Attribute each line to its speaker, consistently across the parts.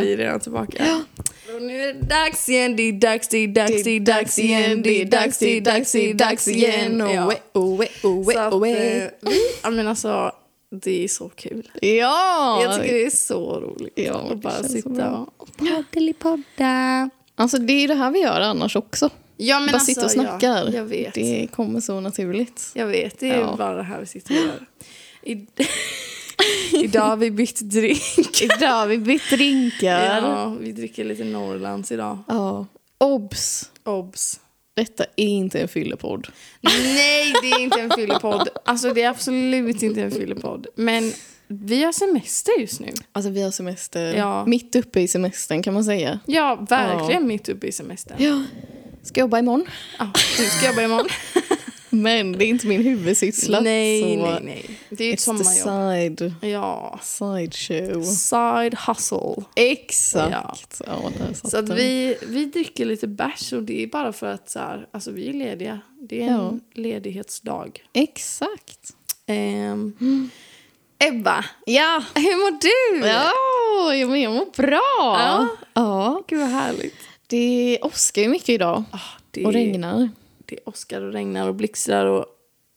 Speaker 1: redan tillbaka. Och nu är det dags igen, det är dags, det är dags, det är dags igen, det är dags, det är dags, det är dags igen. Ja.
Speaker 2: Oe, oe, oe,
Speaker 1: Så att,
Speaker 2: oe.
Speaker 1: eh, vi- ja, men alltså, det är så kul.
Speaker 2: Ja!
Speaker 1: Jag tycker det är så roligt
Speaker 2: Ja,
Speaker 1: att
Speaker 2: det
Speaker 1: bara
Speaker 2: känns så
Speaker 1: sitta
Speaker 2: bra.
Speaker 1: och poddelipodda.
Speaker 2: Alltså det är ju det här vi gör annars också.
Speaker 1: Ja,
Speaker 2: Bara
Speaker 1: men alltså,
Speaker 2: sitta och snackar.
Speaker 1: Ja, jag vet.
Speaker 2: Det kommer så naturligt.
Speaker 1: Jag vet, det är
Speaker 2: Ja.
Speaker 1: bara det här vi sitter och gör. I, idag har vi bytt drink.
Speaker 2: Idag har vi bytt drinkar. Ja.
Speaker 1: Ja, vi dricker lite Norrlands idag.
Speaker 2: Obs!
Speaker 1: Obs.
Speaker 2: Detta är inte en fyllepodd.
Speaker 1: Nej, det är inte en fyllepodd. Alltså det är absolut inte en fyllepodd. Men vi har semester just nu.
Speaker 2: Alltså vi har semester.
Speaker 1: Ja.
Speaker 2: Mitt uppe i semestern kan man säga.
Speaker 1: Ja, verkligen
Speaker 2: Ja.
Speaker 1: mitt uppe i semestern.
Speaker 2: Ja. Ska jobba imorgon.
Speaker 1: Ja, du ska jobba imorgon.
Speaker 2: Men det är inte min huvudsyssla.
Speaker 1: Nej,
Speaker 2: så
Speaker 1: nej, nej. Det är ju ett
Speaker 2: It's the
Speaker 1: sommarjobb.
Speaker 2: side,
Speaker 1: Ja.
Speaker 2: side show.
Speaker 1: Side hustle.
Speaker 2: Exakt. Ja. där satt
Speaker 1: Så att
Speaker 2: den.
Speaker 1: vi, vi dricker lite bärs och det är bara för att så här, alltså vi är lediga. Det är en
Speaker 2: Ja.
Speaker 1: ledighetsdag.
Speaker 2: Exakt.
Speaker 1: Ehm, Ebba,
Speaker 2: Ja.
Speaker 1: hur mår du?
Speaker 2: Mm. Ja, jag men jag mår bra.
Speaker 1: Ja.
Speaker 2: ja.
Speaker 1: Gud vad härligt.
Speaker 2: Det åskar ju mycket idag.
Speaker 1: Ah, det,
Speaker 2: Och regnar.
Speaker 1: Det åskar och regnar och blixtrar och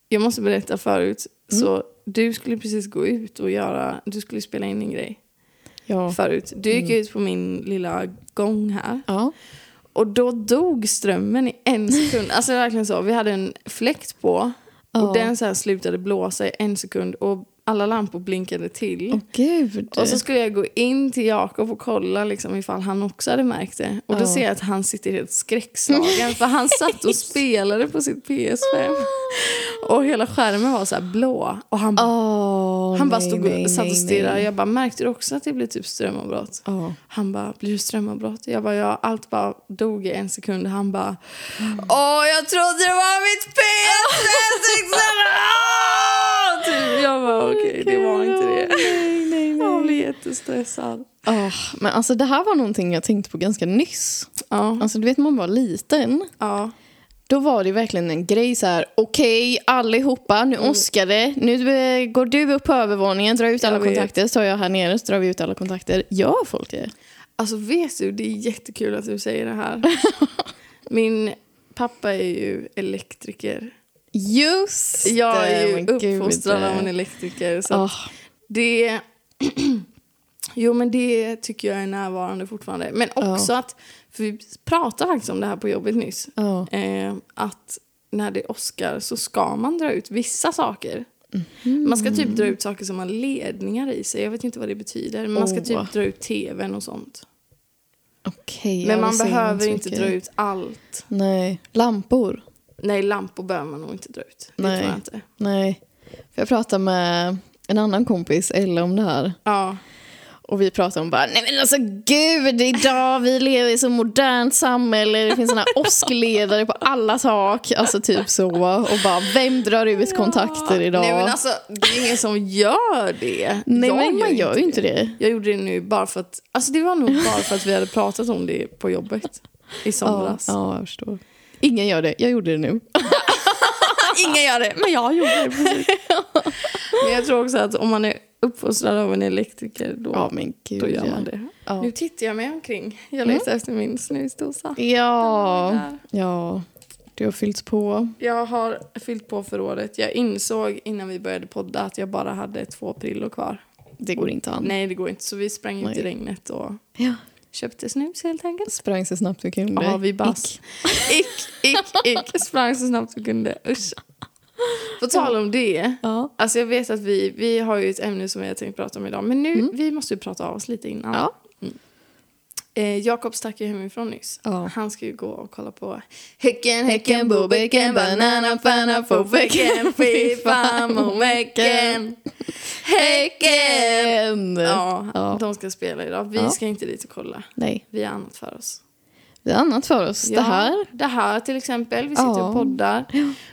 Speaker 1: jag måste berätta förut.
Speaker 2: Mm.
Speaker 1: Så du skulle precis gå ut och göra, du skulle spela in en grej
Speaker 2: Ja. Mm.
Speaker 1: förut. Du gick ut på min lilla gång här.
Speaker 2: ja.
Speaker 1: Och då dog strömmen i en sekund. Alltså det är verkligen så. Vi hade en fläkt på
Speaker 2: Ja.
Speaker 1: och den så här slutade blåsa i en sekund och alla lampor blinkade till.
Speaker 2: Åh gud.
Speaker 1: Och så skulle jag gå in till Jakob och kolla liksom, ifall han också hade märkt det. Och då
Speaker 2: Ja.
Speaker 1: ser jag att han sitter helt skräckslagen för han satt och spelade på sitt PS5. Och hela skärmen var så här blå. Och han,
Speaker 2: Åh,
Speaker 1: han bara
Speaker 2: nej,
Speaker 1: stod och
Speaker 2: nej,
Speaker 1: satt och
Speaker 2: nej,
Speaker 1: stirrade.
Speaker 2: nej.
Speaker 1: Jag bara, märkte du också att det blev typ strömavbrott?
Speaker 2: Ja.
Speaker 1: Han bara, blir det strömavbrott? Jag bara, ja. Allt bara dog i en sekund. Han bara,
Speaker 2: Mm.
Speaker 1: åh jag trodde det var mitt PS6! Åh! Typ. Jag bara, okej det var inte det.
Speaker 2: Nej, nej,
Speaker 1: Han
Speaker 2: nej.
Speaker 1: blev jättestressad.
Speaker 2: Åh, men alltså det här var någonting jag tänkte på ganska nyss.
Speaker 1: Ja.
Speaker 2: Alltså du vet när man var liten.
Speaker 1: ja.
Speaker 2: Då var det verkligen en grej så här. okej allihopa, nu åskar det. Nu eh, går du upp på övervåningen, drar ut
Speaker 1: Mm. Jag
Speaker 2: alla
Speaker 1: vet.
Speaker 2: kontakter. Så tar jag här nere, så drar vi ut alla kontakter. Gör folk det?
Speaker 1: Alltså vet du, det är jättekul att du säger det här. Min pappa är ju elektriker.
Speaker 2: Just
Speaker 1: Jag är ju
Speaker 2: men gud. eh.
Speaker 1: uppfostrad av en elektriker. Så
Speaker 2: Åh,
Speaker 1: att det... Jo, men det tycker jag är närvarande fortfarande. Men också att, för vi pratade faktiskt om det här på jobbet nyss,
Speaker 2: ja.
Speaker 1: eh, att när det är Oscar så ska man dra ut vissa saker.
Speaker 2: Mhm.
Speaker 1: Man ska typ dra ut saker som har ledningar i sig. Jag vet inte vad det betyder. Men man ska
Speaker 2: Åh.
Speaker 1: typ dra ut tvn och sånt.
Speaker 2: Okej, ja,
Speaker 1: Men man
Speaker 2: det säger
Speaker 1: behöver
Speaker 2: så
Speaker 1: inte
Speaker 2: mycket.
Speaker 1: dra ut allt.
Speaker 2: Nej. Lampor?
Speaker 1: Nej, lampor behöver man nog inte dra ut. Det
Speaker 2: Nej.
Speaker 1: tror jag inte.
Speaker 2: Nej. För jag pratade med en annan kompis, Ella, om det här.
Speaker 1: Ja.
Speaker 2: Och vi pratade om bara, nej men alltså gud, idag vi lever i ett så modernt samhälle, det finns såna här åskledare på alla tak, alltså typ så. Och bara, vem drar ut kontakter idag?
Speaker 1: Nej, men alltså, det är ingen som gör det.
Speaker 2: Nej,
Speaker 1: Jag
Speaker 2: men man gör ju inte det.
Speaker 1: Jag gjorde det nu bara för att... Alltså det var nog bara för att vi hade pratat om det på jobbet i
Speaker 2: Ja,
Speaker 1: somras.
Speaker 2: ja, jag förstår. Ingen gör det, jag gjorde det nu.
Speaker 1: Ingen gör det, men jag gjorde det precis. men jag tror också att om man är uppfostrad av en elektriker, då,
Speaker 2: Ja men gud.
Speaker 1: då gör man
Speaker 2: ja.
Speaker 1: det. Mm.
Speaker 2: Ja.
Speaker 1: Nu tittar jag mig omkring. Jag letar efter min snusdosa.
Speaker 2: Ja.
Speaker 1: Där.
Speaker 2: ja, du har fyllts på.
Speaker 1: Jag har fyllt på förrådet. Jag insåg innan vi började podda att jag bara hade två prillor kvar.
Speaker 2: Det går inte an.
Speaker 1: Nej, det går inte. Så vi sprang ut
Speaker 2: Nej.
Speaker 1: i regnet och
Speaker 2: Ja.
Speaker 1: köpte snus helt enkelt.
Speaker 2: Sprang så snabbt du kunde.
Speaker 1: Ja, vi bara... Ick, ick, ick. Sprang så snabbt vi kunde. Usch. På tal om det.
Speaker 2: Ja.
Speaker 1: Alltså jag vet att vi, vi har ju ett ämne som jag tänkt prata om idag. Men nu, vi måste ju prata av oss lite innan.
Speaker 2: Ja.
Speaker 1: Mm. Eh, Jakob stack ju hemifrån nyss.
Speaker 2: Ja.
Speaker 1: Han ska ju gå och kolla på Häcken, häcken, bobiken, banana, fana, fofiken, fifa, momäcken. Häcken!
Speaker 2: Ämne.
Speaker 1: Ja,
Speaker 2: Ja.
Speaker 1: de ska spela idag. Vi
Speaker 2: Ja.
Speaker 1: ska inte dit och kolla.
Speaker 2: Nej,
Speaker 1: Vi har annat för oss.
Speaker 2: det är annat för oss.
Speaker 1: Ja,
Speaker 2: Det här.
Speaker 1: Det här till exempel. Vi sitter
Speaker 2: Ja.
Speaker 1: och poddar.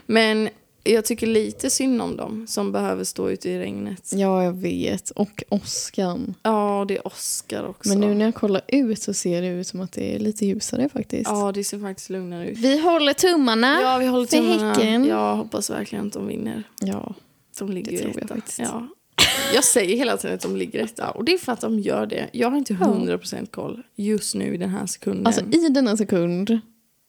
Speaker 1: Men jag tycker lite synd om dem som behöver stå ute i regnet.
Speaker 2: Ja, jag vet. Och åskan.
Speaker 1: Ja, det är Oscar också.
Speaker 2: Men nu när jag kollar ut så ser det ut som att det är lite ljusare faktiskt.
Speaker 1: Ja, det ser faktiskt lugnare ut.
Speaker 2: Vi håller tummarna.
Speaker 1: Ja, vi håller
Speaker 2: för
Speaker 1: tummarna.
Speaker 2: Häcken.
Speaker 1: Jag hoppas verkligen att de vinner.
Speaker 2: Ja.
Speaker 1: De ligger
Speaker 2: Det
Speaker 1: ju
Speaker 2: tror jag
Speaker 1: etta.
Speaker 2: faktiskt.
Speaker 1: Ja. Jag säger hela tiden att de ligger rätta och det är för att de gör det. Jag har inte 100% koll just nu i den här sekunden.
Speaker 2: Alltså i denna sekund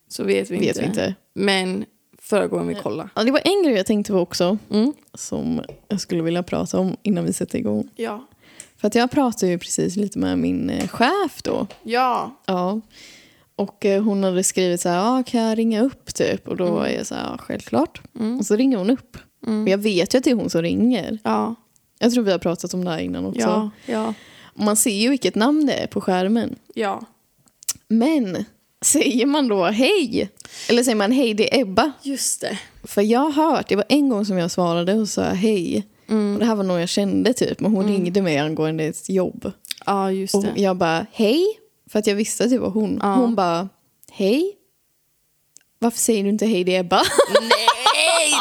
Speaker 1: så vet vi,
Speaker 2: vet
Speaker 1: inte.
Speaker 2: vi inte.
Speaker 1: Men förra gången vi kollade.
Speaker 2: Ja, det var en grej jag tänkte på också
Speaker 1: Mm.
Speaker 2: som jag skulle vilja prata om innan vi sätter igång.
Speaker 1: Ja.
Speaker 2: För att jag pratade ju precis lite med min eh, chef då.
Speaker 1: Ja.
Speaker 2: Ja. Och eh, hon hade skrivit så här, ah, kan jag ringa upp typ? Och då var jag så här, ja självklart.
Speaker 1: Mm.
Speaker 2: Och så ringer hon upp.
Speaker 1: Mm.
Speaker 2: Men jag vet ju att det är hon som ringer.
Speaker 1: Ja.
Speaker 2: Jag tror vi har pratat om det här innan också.
Speaker 1: Ja. Ja.
Speaker 2: Och Man ser ju vilket namn det är på skärmen.
Speaker 1: ja.
Speaker 2: Men säger man då hej? Eller säger man hej det är Ebba?
Speaker 1: Just det.
Speaker 2: För jag har hört, det var en gång som jag svarade och sa hej.
Speaker 1: Mm.
Speaker 2: Och det här var någon jag kände typ. Men hon ringde mig angående ett jobb.
Speaker 1: Ja, just
Speaker 2: Och
Speaker 1: det.
Speaker 2: jag bara hej. För att jag visste att det var hon.
Speaker 1: Ja.
Speaker 2: Hon bara hej. Varför säger du inte hej det är Ebba?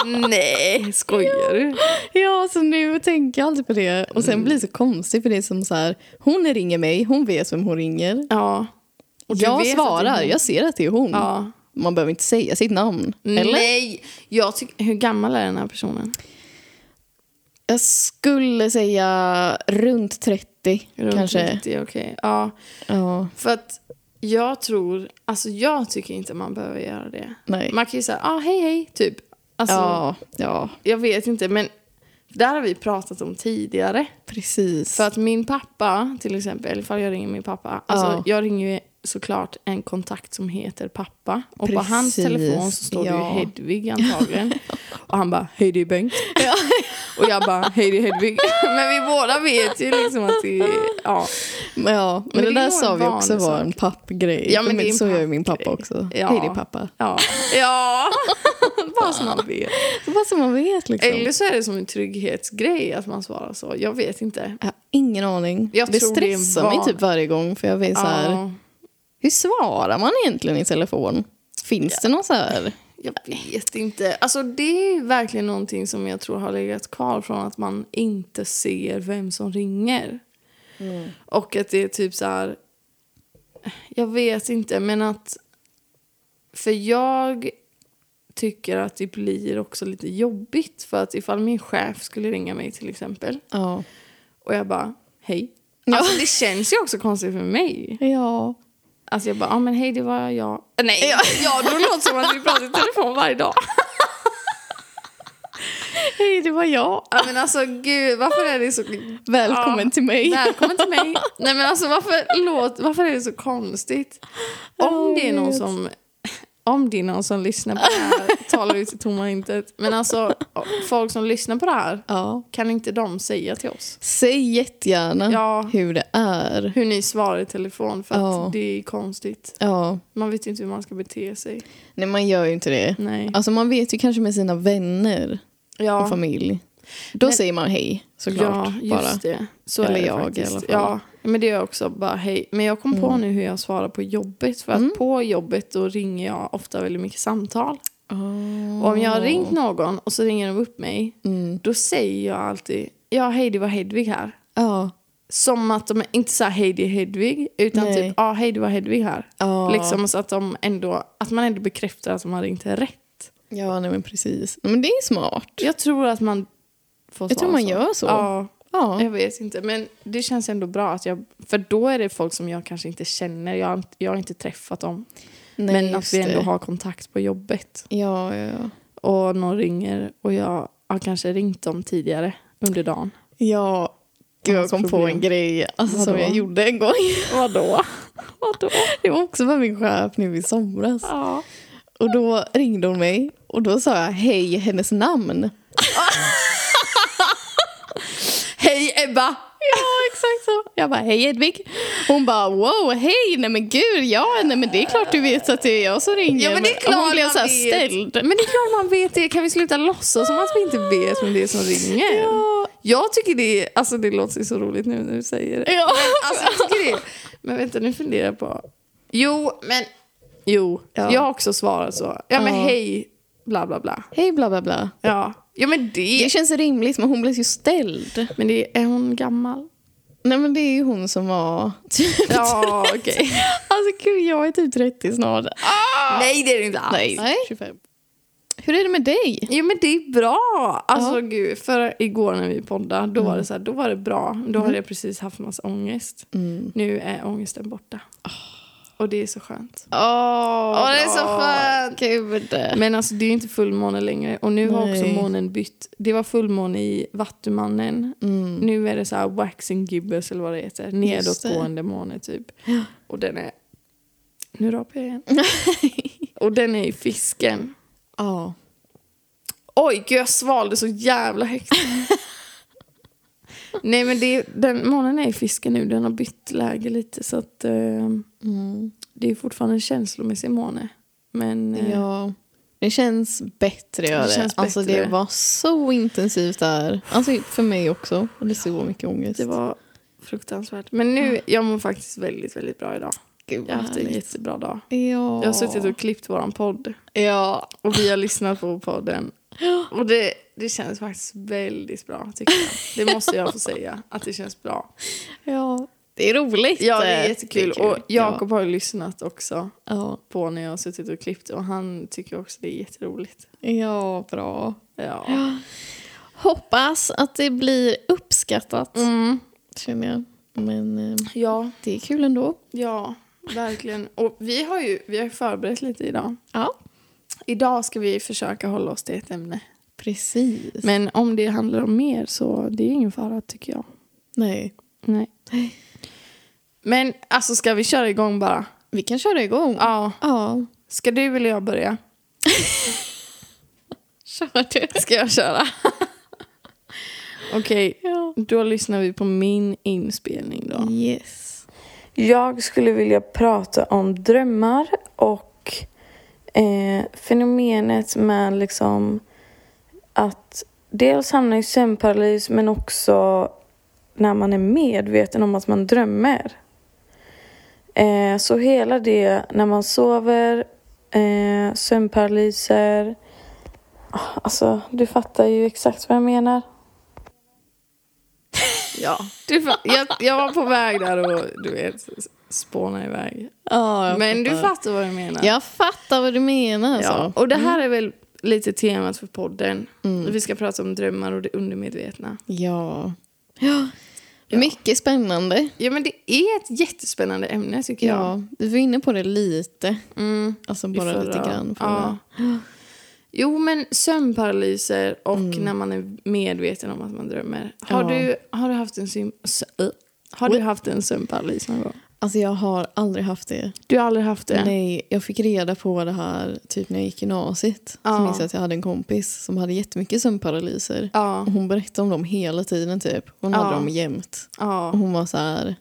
Speaker 1: Nej, nej. Skojar du?
Speaker 2: Ja, så nu tänker jag alltid på det. Och
Speaker 1: Mm.
Speaker 2: sen blir det så konstigt för det är som så här, hon ringer mig, hon vet vem hon ringer.
Speaker 1: Ja. Och du
Speaker 2: jag
Speaker 1: vet att det är
Speaker 2: svarar,
Speaker 1: hon.
Speaker 2: jag ser att det är hon.
Speaker 1: Ja.
Speaker 2: Man behöver inte säga sitt namn. Eller?
Speaker 1: Nej. Jag tycker, hur gammal är den här personen?
Speaker 2: Jag skulle säga runt 30
Speaker 1: Runt
Speaker 2: kanske.
Speaker 1: 90, okej. Ja.
Speaker 2: Ja,
Speaker 1: För att jag tror, alltså jag tycker inte man behöver göra det.
Speaker 2: nej.
Speaker 1: Man kan ju säga, ah, hej hej, typ. Alltså,
Speaker 2: ja, ja,
Speaker 1: Jag vet inte, men det här har vi pratat om tidigare.
Speaker 2: precis.
Speaker 1: För att min pappa, till exempel, ifall jag ringer min pappa. Alltså,
Speaker 2: Ja.
Speaker 1: Jag ringer ju såklart en kontakt som heter pappa. Och på hans
Speaker 2: Precis,
Speaker 1: telefon så står det ju
Speaker 2: ja.
Speaker 1: Hedvig antagligen. och han bara, hej det är Bengt. och jag bara, hej det är Hedvig. men vi båda vet ju liksom att det är... Ja,
Speaker 2: Men ja, men,
Speaker 1: det
Speaker 2: det,
Speaker 1: är
Speaker 2: där
Speaker 1: nog
Speaker 2: sa
Speaker 1: en
Speaker 2: vi också
Speaker 1: vanlig
Speaker 2: var en pappgrej.
Speaker 1: Ja, men det är en
Speaker 2: så gör ju min pappa
Speaker 1: pappgrej.
Speaker 2: också.
Speaker 1: Ja.
Speaker 2: Hej, det är pappa.
Speaker 1: ja, ja. bara så man vet.
Speaker 2: Så bara så man vet liksom.
Speaker 1: Eller så är det som en trygghetsgrej att man svarar så. Jag vet inte.
Speaker 2: Jag har ingen aning.
Speaker 1: Jag
Speaker 2: det
Speaker 1: tror det är en
Speaker 2: stressar mig
Speaker 1: van-
Speaker 2: typ varje gång för jag vet så här,
Speaker 1: Ja,
Speaker 2: Hur svarar man egentligen i telefon? Finns det någon så här?
Speaker 1: jag vet inte. Alltså det är verkligen någonting som jag tror har legat kvar från att man inte ser vem som ringer. Mm. Och att det är typ så här... Jag vet inte, men att... För jag tycker att det blir också lite jobbigt. För att ifall min chef skulle ringa mig till exempel
Speaker 2: Ja.
Speaker 1: och jag bara hej. Alltså det känns ju också konstigt för mig.
Speaker 2: Ja.
Speaker 1: Alltså jag bara, ja ah, men hej det var jag. Äh, Nej, ja, då låter det som att vi pratar i telefon varje dag.
Speaker 2: Hej, det var jag.
Speaker 1: Ja, men alltså gud, varför är det så...
Speaker 2: Välkommen
Speaker 1: Ja,
Speaker 2: till mig.
Speaker 1: Välkommen till mig. Nej men alltså varför, låt, varför är det så konstigt? Om
Speaker 2: Ja,
Speaker 1: det är
Speaker 2: jag
Speaker 1: någon
Speaker 2: vet.
Speaker 1: som... Om det är någon som lyssnar på det här, talar ut i tomma intet. Men alltså, folk som lyssnar på det här,
Speaker 2: Ja.
Speaker 1: kan inte de säga till oss
Speaker 2: Säg jättegärna
Speaker 1: Ja.
Speaker 2: hur det är.
Speaker 1: hur ni svarar i telefon? För att
Speaker 2: Ja.
Speaker 1: det är konstigt.
Speaker 2: Ja.
Speaker 1: Man vet ju inte hur man ska bete sig.
Speaker 2: Nej, man gör ju inte det.
Speaker 1: Nej.
Speaker 2: Alltså man vet ju kanske med sina vänner och
Speaker 1: Ja.
Speaker 2: familj. Då
Speaker 1: Men-
Speaker 2: säger man hej såklart.
Speaker 1: Ja, just
Speaker 2: bara.
Speaker 1: det. Så
Speaker 2: Eller
Speaker 1: är det
Speaker 2: jag i
Speaker 1: faktiskt.
Speaker 2: alla fall. Mm.
Speaker 1: Ja, men det är jag också bara hej. Men jag kom på nu hur jag svarar på jobbet. För att på jobbet då ringer jag ofta väldigt mycket samtal. Och om jag har ringt någon och så ringer de upp mig.
Speaker 2: mm.
Speaker 1: Då säger jag alltid, ja hej det var Hedvig här.
Speaker 2: Ja.
Speaker 1: Som att de inte sa hej det är Hedvig. Utan
Speaker 2: Nej.
Speaker 1: typ, ja hej det var Hedvig här.
Speaker 2: Ja.
Speaker 1: Liksom så att, de ändå, att man ändå bekräftar att de har ringt rätt.
Speaker 2: ja, nej men precis. Men det är smart.
Speaker 1: Jag tror att man får
Speaker 2: Jag tror
Speaker 1: svara
Speaker 2: man
Speaker 1: så.
Speaker 2: gör så.
Speaker 1: Ja.
Speaker 2: Ja.
Speaker 1: Jag vet inte, men det känns ändå bra. att jag, För då är det folk som jag kanske inte känner. Jag har, inte- jag har inte träffat dem.
Speaker 2: Nej,
Speaker 1: men att
Speaker 2: just
Speaker 1: vi ändå
Speaker 2: det.
Speaker 1: har kontakt på jobbet.
Speaker 2: Ja, ja, ja.
Speaker 1: Och någon ringer och jag har kanske ringt dem tidigare under dagen.
Speaker 2: Ja, gud, jag
Speaker 1: Hans
Speaker 2: kom på
Speaker 1: problem.
Speaker 2: en grej alltså, som
Speaker 1: Vadå?
Speaker 2: jag gjorde en gång.
Speaker 1: Vadå? Vadå?
Speaker 2: Det var också med min chef nu i somras.
Speaker 1: Ja.
Speaker 2: Och då ringde hon mig och då sa jag hej hennes namn.
Speaker 1: Hej Ebba!
Speaker 2: Ja, exakt så. Jag bara hej Edvig. Hon bara wow, hej, nej men gud, ja, nej men det är klart du vet att det är jag som ringer.
Speaker 1: Ja men det är klart
Speaker 2: hon blev
Speaker 1: man
Speaker 2: så här
Speaker 1: vet.
Speaker 2: ställd.
Speaker 1: Men det är klart man vet det. Kan vi sluta låtsas som att vi inte vet vem det är som ringer?
Speaker 2: Ja.
Speaker 1: Jag tycker det är, alltså det låter ju så roligt nu när du säger det.
Speaker 2: Ja.
Speaker 1: Alltså jag tycker det. Men vänta nu funderar jag på. Jo, men. Jo,
Speaker 2: Ja.
Speaker 1: jag har också svarat så. Ja men
Speaker 2: Ja.
Speaker 1: hej, bla bla bla.
Speaker 2: Hej bla bla bla.
Speaker 1: Ja, ja men det.
Speaker 2: Det känns rimligt men hon blev ju ställd.
Speaker 1: Men det, är hon gammal?
Speaker 2: Nej men det är ju hon som var typ
Speaker 1: Ja, okej.
Speaker 2: Alltså gud jag är typ 30 snart.
Speaker 1: Ah. Nej det är det inte alls.
Speaker 2: Nej. 25. Hur är det med dig?
Speaker 1: Jo men det är bra! Alltså gud, för igår när vi poddade då var det så här, då var det bra. Då hade jag precis haft massa ångest. Nu är ångesten borta. Och det är så skönt.
Speaker 2: Åh, oh,
Speaker 1: det är så skönt.
Speaker 2: Gud.
Speaker 1: Men alltså det är ju inte fullmåne längre och nu har också
Speaker 2: Nej.
Speaker 1: månen bytt. Det var fullmåne i Vattumannen.
Speaker 2: Mm.
Speaker 1: Nu är det så här waxing gibbous eller vad det heter. Nedåtgående måne typ. Och den är... Nu rapar jag igen. och den är i fisken.
Speaker 2: Ja.
Speaker 1: Oj, gud jag svalde så jävla högt. Nej men det, den, månen är i fisken nu, den har bytt läge lite så att eh,
Speaker 2: Mm.
Speaker 1: det är fortfarande en känslomässig måne. Men eh,
Speaker 2: Ja. Det känns bättre. Gör det.
Speaker 1: Det känns
Speaker 2: Alltså, det
Speaker 1: bättre.
Speaker 2: var så intensivt där. Alltså, för mig också. Och det är så mycket ångest.
Speaker 1: det var fruktansvärt. Men nu, jag mår faktiskt väldigt, väldigt bra idag.
Speaker 2: Gud,
Speaker 1: Jag har haft en
Speaker 2: härligt.
Speaker 1: jättebra dag.
Speaker 2: Ja.
Speaker 1: Jag har suttit och klippt våran podd
Speaker 2: Ja.
Speaker 1: och vi har lyssnat på podden. Och det, det känns faktiskt väldigt bra tycker jag. Det måste jag få säga, att det känns bra.
Speaker 2: ja. Det är roligt.
Speaker 1: Ja, det är
Speaker 2: Det
Speaker 1: jättekul.
Speaker 2: är kul.
Speaker 1: Och Jakob har ju lyssnat också
Speaker 2: Ja.
Speaker 1: på när jag har suttit och klippt och han tycker också det är jätteroligt.
Speaker 2: Ja. ja, bra.
Speaker 1: Ja.
Speaker 2: Hoppas att det blir uppskattat,
Speaker 1: Mm.
Speaker 2: känner jag. Men eh,
Speaker 1: Ja,
Speaker 2: det är kul ändå.
Speaker 1: ja, verkligen. Och vi har ju vi har ju förberett lite idag.
Speaker 2: Ja,
Speaker 1: Idag ska vi försöka hålla oss till ett ämne.
Speaker 2: precis.
Speaker 1: Men om det handlar om mer så det är ingen fara tycker jag.
Speaker 2: Nej.
Speaker 1: Nej. Men alltså ska vi köra igång bara?
Speaker 2: Vi kan köra igång.
Speaker 1: Ja.
Speaker 2: ja.
Speaker 1: Ska du eller jag börja?
Speaker 2: Kör du.
Speaker 1: Ska jag köra? Okej,
Speaker 2: Ja.
Speaker 1: då lyssnar vi på min inspelning då.
Speaker 2: Yes.
Speaker 1: Jag skulle vilja prata om drömmar och eh, fenomenet med liksom att dels hamna i sömnparalys men också när man är medveten om att man drömmer. Eh, så hela det när man sover, eh, sömnparalyser, Ah, alltså du fattar ju exakt vad jag menar. Ja, du fa- jag, jag var på väg där och du vet, spåna iväg.
Speaker 2: Ja, jag
Speaker 1: Men du fattar vad jag menar.
Speaker 2: Jag fattar vad du menar.
Speaker 1: Ja,
Speaker 2: Alltså. Mm.
Speaker 1: Och det här är väl lite temat för podden. Vi ska prata om drömmar och det undermedvetna.
Speaker 2: Ja. ja. Mycket spännande.
Speaker 1: Ja men det är ett jättespännande ämne tycker jag.
Speaker 2: Ja. Vi var inne på det lite.
Speaker 1: Mm.
Speaker 2: Alltså
Speaker 1: I
Speaker 2: bara
Speaker 1: förra-
Speaker 2: lite grann.
Speaker 1: Ja.
Speaker 2: förra.
Speaker 1: Jo men sömnparalyser och när man är medveten om att man drömmer. Har,
Speaker 2: Mm. Ja.
Speaker 1: du, har du haft en sym- s- ö. har du haft en sömnparalys någon gång?
Speaker 2: Alltså jag har aldrig haft det.
Speaker 1: Du har aldrig haft det?
Speaker 2: Nej, jag fick reda på det här typ när jag gick i gymnasiet.
Speaker 1: Ja.
Speaker 2: Så minns jag att jag hade en kompis som hade jättemycket sömnparalyser.
Speaker 1: Ja.
Speaker 2: Och hon berättade om dem hela tiden typ. Hon
Speaker 1: Ja.
Speaker 2: hade dem jämt. Och
Speaker 1: ja.
Speaker 2: hon var så här...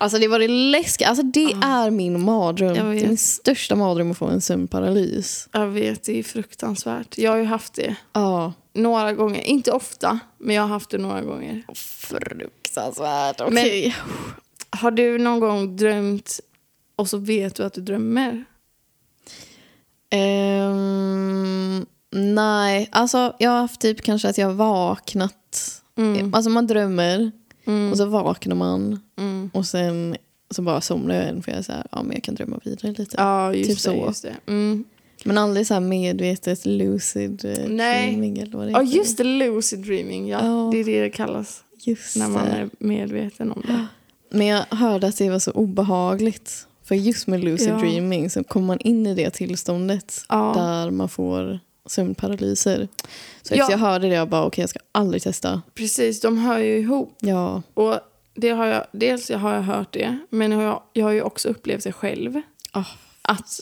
Speaker 2: Alltså det var det läskiga. Alltså det är min mardröm.
Speaker 1: Jag
Speaker 2: Det
Speaker 1: vet.
Speaker 2: är min största mardröm att få en sömnparalys.
Speaker 1: Jag vet, det är fruktansvärt. Jag har ju haft det
Speaker 2: Ja.
Speaker 1: några gånger. Inte ofta, men jag har haft det några gånger.
Speaker 2: Fruktansvärt.
Speaker 1: Okej. Har du någon gång drömt och så vet du att du drömmer?
Speaker 2: Ehm, nej, alltså jag har haft typ kanske att jag har vaknat.
Speaker 1: Mm.
Speaker 2: Alltså man drömmer
Speaker 1: Mm.
Speaker 2: och så vaknar man
Speaker 1: Mm.
Speaker 2: och sen så bara somnar jag igen för jag är så här, ja men jag kan drömma vidare lite.
Speaker 1: Ja, just
Speaker 2: Typ
Speaker 1: det.
Speaker 2: så.
Speaker 1: Just det. Mm.
Speaker 2: Men aldrig så här medvetet lucid eh,
Speaker 1: Nej.
Speaker 2: dreaming eller vad det
Speaker 1: Ja,
Speaker 2: heter.
Speaker 1: just det. Lucid dreaming. Ja.
Speaker 2: Ja.
Speaker 1: Det är det det kallas
Speaker 2: Just
Speaker 1: när man
Speaker 2: det.
Speaker 1: är medveten om det.
Speaker 2: Men jag hörde att det var så obehagligt. För just med lucid
Speaker 1: Ja.
Speaker 2: dreaming så kommer man in i det tillståndet
Speaker 1: Ja.
Speaker 2: där man får sömnparalyser. Så
Speaker 1: Ja.
Speaker 2: efter jag hörde det jag bara okej jag ska aldrig testa.
Speaker 1: Precis, de hör ju ihop.
Speaker 2: Ja.
Speaker 1: Och det har jag, dels har jag hört det, men jag, har- jag har ju också upplevt det själv.
Speaker 2: Ah,
Speaker 1: Att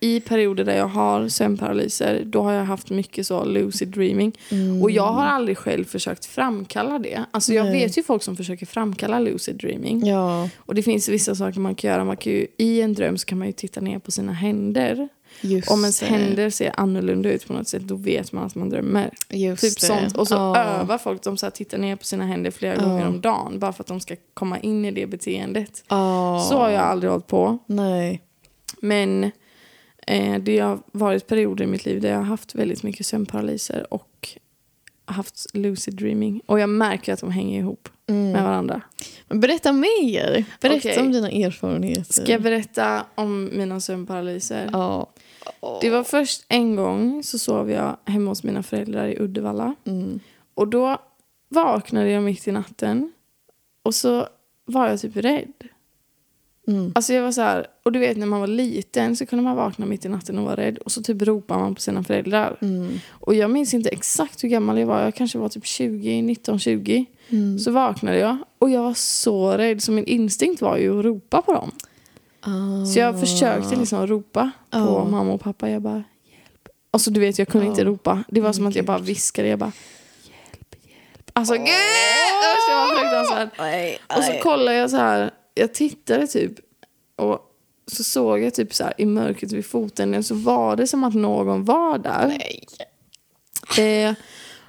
Speaker 1: i perioder där jag har sömnparalyser, då har jag haft mycket så lucid dreaming.
Speaker 2: Mm.
Speaker 1: Och jag har aldrig själv försökt framkalla det. Alltså jag
Speaker 2: Nej.
Speaker 1: vet ju folk som försöker framkalla lucid dreaming.
Speaker 2: Ja.
Speaker 1: Och det finns vissa saker man kan göra. Man kan ju, I en dröm så kan man ju titta ner på sina händer.
Speaker 2: Just
Speaker 1: Om ens
Speaker 2: det.
Speaker 1: händer ser annorlunda ut på något sätt, då vet man att man drömmer.
Speaker 2: Just
Speaker 1: Typ
Speaker 2: det.
Speaker 1: sånt. Och så
Speaker 2: Ja.
Speaker 1: övar folk, de så här tittar ner på sina händer flera
Speaker 2: Ja.
Speaker 1: gånger om dagen. Bara för att de ska komma in i det beteendet.
Speaker 2: Ja.
Speaker 1: Så har jag aldrig hållit på.
Speaker 2: Nej.
Speaker 1: Men eh, det har varit perioder i mitt liv där jag har haft väldigt mycket sömnparalyser och haft lucid dreaming. Och jag märker att de hänger ihop. med varandra.
Speaker 2: Mm. Men Berätta mer. Berätta
Speaker 1: Okej.
Speaker 2: om dina erfarenheter.
Speaker 1: Ska jag berätta om mina sömnparalyser?
Speaker 2: Ja.
Speaker 1: Det var först en gång så sov jag hemma hos mina föräldrar i Uddevalla.
Speaker 2: Mm.
Speaker 1: Och då vaknade jag mitt i natten och så var jag typ rädd.
Speaker 2: Mm.
Speaker 1: Alltså jag var så här, och du vet när man var liten så kunde man vakna mitt i natten och vara rädd och så typ ropar man på sina föräldrar.
Speaker 2: Mm.
Speaker 1: Och jag minns inte exakt hur gammal jag var, jag kanske var typ 20, 19, 20.
Speaker 2: Mm.
Speaker 1: Så vaknade jag och jag var så rädd så min instinkt var ju att ropa på dem.
Speaker 2: Ah.
Speaker 1: Så jag försökte liksom ropa på
Speaker 2: Ja.
Speaker 1: mamma och pappa. Jag bara, hjälp. Alltså du vet, jag kunde
Speaker 2: Ja.
Speaker 1: inte ropa. Det var
Speaker 2: Men
Speaker 1: som att jag
Speaker 2: gud.
Speaker 1: bara viskade. Jag bara, hjälp, hjälp. Alltså gud! Usch, det var fruktansvärt.
Speaker 2: Nej,
Speaker 1: Och så
Speaker 2: nej.
Speaker 1: kollade jag så här. Jag tittade typ. Och så såg jag typ så här i mörkret vid foten. Så var det som att någon var där.
Speaker 2: Nej.
Speaker 1: Eh,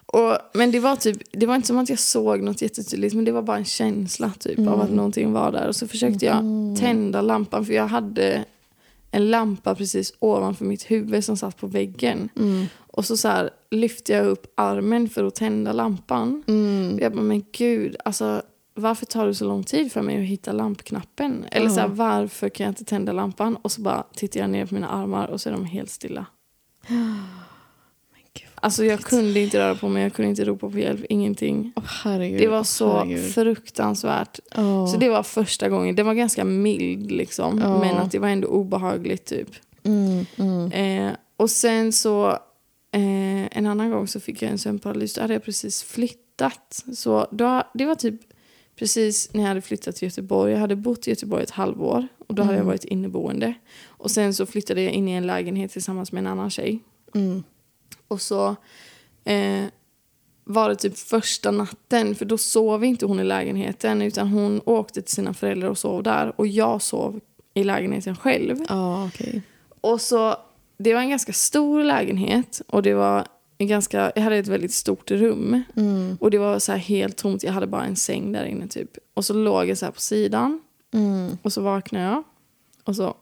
Speaker 1: och, men det var typ, det var inte som att jag såg något jättetydligt men det var bara en känsla typ av
Speaker 2: Mm.
Speaker 1: att någonting var där. Och så försökte jag tända lampan för jag hade en lampa precis ovanför mitt huvud som satt på väggen. Och så, så här, lyfte jag upp armen för att tända lampan.
Speaker 2: Mm.
Speaker 1: Och jag bara, men gud, alltså varför tar det så lång tid för mig att hitta lampknappen? Eller så här, varför kan jag inte tända lampan? Och så bara tittar jag ner på mina armar och så är de helt stilla.
Speaker 2: Men gud.
Speaker 1: Alltså jag kunde inte röra på mig, jag kunde inte ropa på hjälp, ingenting.
Speaker 2: Åh, herregud.
Speaker 1: Det var så
Speaker 2: Herregud.
Speaker 1: fruktansvärt.
Speaker 2: Ja.
Speaker 1: Så det var första gången. Den var ganska mild liksom.
Speaker 2: Ja.
Speaker 1: Men att det var ändå obehagligt typ.
Speaker 2: Mm, mm.
Speaker 1: Eh, och sen så eh, en annan gång så fick jag en sömnparalys. Då hade jag precis flyttat. Så då, det var typ precis när jag hade flyttat till Göteborg. Jag hade bott i Göteborg ett halvår. Och då hade jag varit inneboende. Och sen så flyttade jag in i en lägenhet tillsammans med en annan tjej.
Speaker 2: Mm.
Speaker 1: Och så eh, var det typ första natten, för då sov inte hon i lägenheten utan hon åkte till sina föräldrar och sov där och jag sov i lägenheten själv.
Speaker 2: Ja, okej.
Speaker 1: Och så, det var en ganska stor lägenhet och det var en ganska, jag hade ett väldigt stort rum
Speaker 2: Mm.
Speaker 1: och det var så här helt tomt, jag hade bara en säng där inne typ. Och så låg jag så här på sidan
Speaker 2: Mm.
Speaker 1: och så vaknade jag. Och så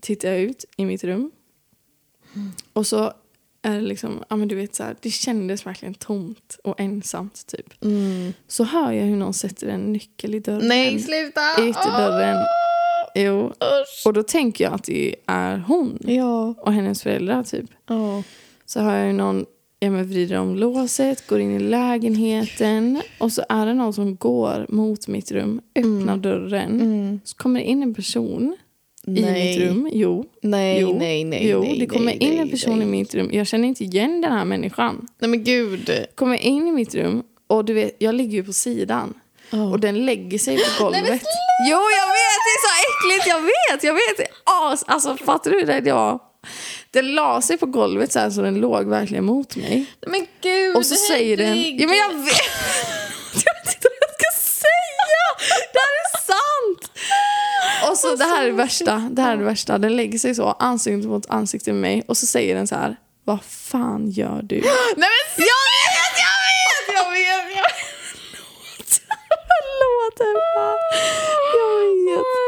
Speaker 1: tittade jag ut i mitt rum. Och så är det liksom, ja men du vet så här, det kändes verkligen tomt och ensamt typ.
Speaker 2: Mm.
Speaker 1: Så hör jag hur någon sätter en nyckel i dörren.
Speaker 2: Nej, sluta!
Speaker 1: I ytterdörren. Jo.
Speaker 2: Åh,
Speaker 1: Och då tänker jag att det är hon
Speaker 2: Ja.
Speaker 1: och hennes föräldrar typ.
Speaker 2: Ja.
Speaker 1: Så hör jag hur någon ja, men vrider om låset, går in i lägenheten och så är det någon som går mot mitt rum, öppnar dörren.
Speaker 2: Mm.
Speaker 1: Så kommer det in en person i
Speaker 2: Nej.
Speaker 1: mitt rum. Jo,
Speaker 2: Nej,
Speaker 1: jo,
Speaker 2: nej, nej.
Speaker 1: jo.
Speaker 2: nej,
Speaker 1: det kommer
Speaker 2: nej,
Speaker 1: in
Speaker 2: nej,
Speaker 1: en person
Speaker 2: nej.
Speaker 1: i mitt rum. Jag känner inte igen den här människan.
Speaker 2: Nej, men gud.
Speaker 1: Kommer in i mitt rum och du vet, jag ligger ju på sidan.
Speaker 2: Ja.
Speaker 1: Och den lägger sig på golvet. jo, jag vet! Det är så äckligt! Jag vet! Jag vet! det är As, alltså, fattar du hur rädd jag var? Den la sig på golvet så här så den låg verkligen mot mig.
Speaker 2: Men gud,
Speaker 1: Och så säger den... Ja, men jag vet! Jag vet inte vad jag ska säga! Det här är sant! Och så det här är det värsta. Det här är det värsta. Den lägger sig så, ansikte mot ansikte med mig. Och så säger den så här. Vad fan gör du?
Speaker 2: Nej, men jag vet, jag vet, jag vet! Jag vet.
Speaker 1: Förlåt Ebba. Jag vet.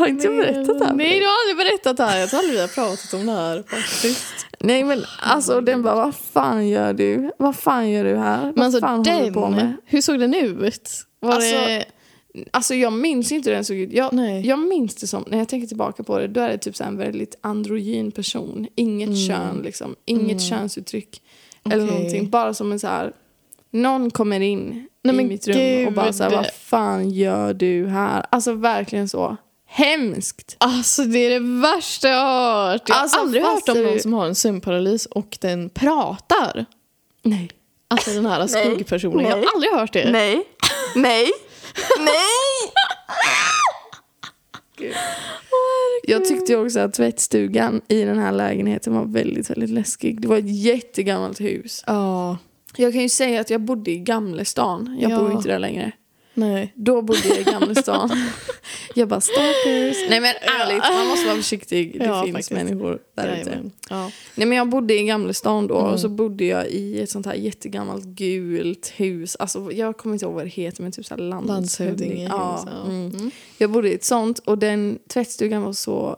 Speaker 1: Har inte jag berättat det här? för dig?
Speaker 2: Nej, du har aldrig berättat det här. Jag tror aldrig vi har pratat om det här faktiskt.
Speaker 1: Nej men alltså den bara. Vad fan gör du? Vad fan gör du här? Vad
Speaker 2: Men alltså
Speaker 1: fan håller du på med?
Speaker 2: den, hur såg den ut? Var
Speaker 1: Alltså,
Speaker 2: det...
Speaker 1: Alltså jag minns inte hur den såg ut. Jag,
Speaker 2: Nej.
Speaker 1: jag minns det som, när jag tänker tillbaka på det, då är det typ så här en väldigt androgyn person. Inget kön liksom, inget könsuttryck. Eller
Speaker 2: Okej.
Speaker 1: någonting, bara som en så här, någon kommer in
Speaker 2: Nej,
Speaker 1: i
Speaker 2: men
Speaker 1: mitt rum och bara så här,
Speaker 2: gud.
Speaker 1: vad fan gör du här? Alltså verkligen så, hemskt.
Speaker 2: Alltså det är det värsta jag har hört. Jag har
Speaker 1: Alltså,
Speaker 2: aldrig hört
Speaker 1: fattar
Speaker 2: om någon
Speaker 1: du?
Speaker 2: som har en sömnparalys och den pratar.
Speaker 1: Nej.
Speaker 2: Alltså den här skuggpersonen. Jag har
Speaker 1: Nej.
Speaker 2: aldrig hört det.
Speaker 1: Nej. Nej. Nej. Jag tyckte också att tvättstugan i den här lägenheten var väldigt, väldigt läskig. Det var ett jättegammalt hus.
Speaker 2: Ja,
Speaker 1: Jag kan ju säga att jag bodde i Gamlestan. Jag
Speaker 2: Ja.
Speaker 1: bor ju inte där längre.
Speaker 2: nej.
Speaker 1: Då bodde jag i Gamlestan. jag bara stalkers. Nej men ärligt, man måste vara försiktig. Det
Speaker 2: Ja,
Speaker 1: finns
Speaker 2: faktiskt.
Speaker 1: människor där ute.
Speaker 2: Jajamän. Ja.
Speaker 1: Nej men jag bodde i Gamlestan då och så
Speaker 2: Mm.
Speaker 1: bodde jag i ett sånt här jättegammalt gult hus. Alltså jag kommer inte ihåg vad det heter men typ såhär landshövding.
Speaker 2: Landshövdingehus,
Speaker 1: Ja,
Speaker 2: ja. Mm.
Speaker 1: mm. Jag bodde i ett sånt och den tvättstugan var så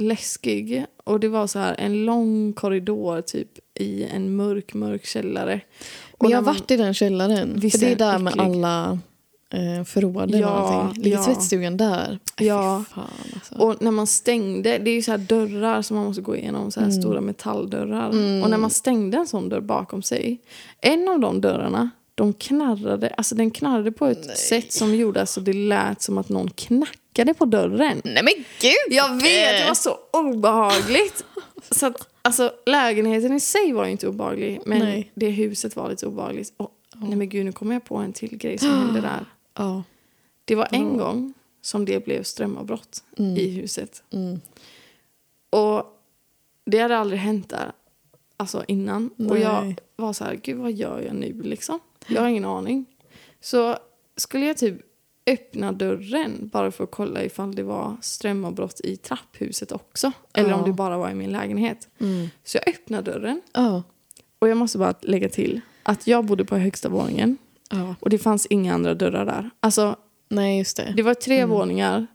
Speaker 1: läskig. Och det var så här en lång korridor typ i en mörk, mörk källare. Och
Speaker 2: Men jag har
Speaker 1: när man-
Speaker 2: varit i den källaren.
Speaker 1: Visst
Speaker 2: För det
Speaker 1: är
Speaker 2: är där
Speaker 1: den
Speaker 2: med
Speaker 1: äcklig?
Speaker 2: alla eh, förråden
Speaker 1: Ja,
Speaker 2: och allting. Ligger
Speaker 1: ja.
Speaker 2: tvättstugan där?
Speaker 1: Ja.
Speaker 2: Fy fan, alltså.
Speaker 1: Och när man stängde, det är ju så här dörrar som man måste gå igenom, så här
Speaker 2: Mm.
Speaker 1: stora metalldörrar. Och när man stängde en sån dörr bakom sig, en av de dörrarna, de knarrade, alltså den knarrade på ett sätt som gjorde alltså det lät som att någon knackade på dörren.
Speaker 2: Nej men gud!
Speaker 1: Jag vet, det
Speaker 2: Eh,
Speaker 1: var så obehagligt. Så att, alltså, lägenheten i sig var ju inte obehaglig, men
Speaker 2: Nej.
Speaker 1: det huset var lite obehagligt. Och, Nej men gud, nu kommer jag på en till grej som hände där.
Speaker 2: Ja.
Speaker 1: Det var en gång som det blev strömavbrott
Speaker 2: Mm.
Speaker 1: i huset. Och det hade aldrig hänt där alltså innan. Och jag
Speaker 2: Nej.
Speaker 1: var så här, gud vad gör jag nu liksom? Jag har ingen aning. Så skulle jag typ öppna dörren bara för att kolla ifall det var strömavbrott i trapphuset också. Eller om
Speaker 2: Ja.
Speaker 1: det bara var i min lägenhet. Så jag öppnade dörren
Speaker 2: Ja.
Speaker 1: och jag måste bara lägga till att jag bodde på högsta våningen
Speaker 2: Ja.
Speaker 1: och det fanns inga andra dörrar där. Alltså
Speaker 2: Nej just det.
Speaker 1: det var tre
Speaker 2: Mm.
Speaker 1: våningar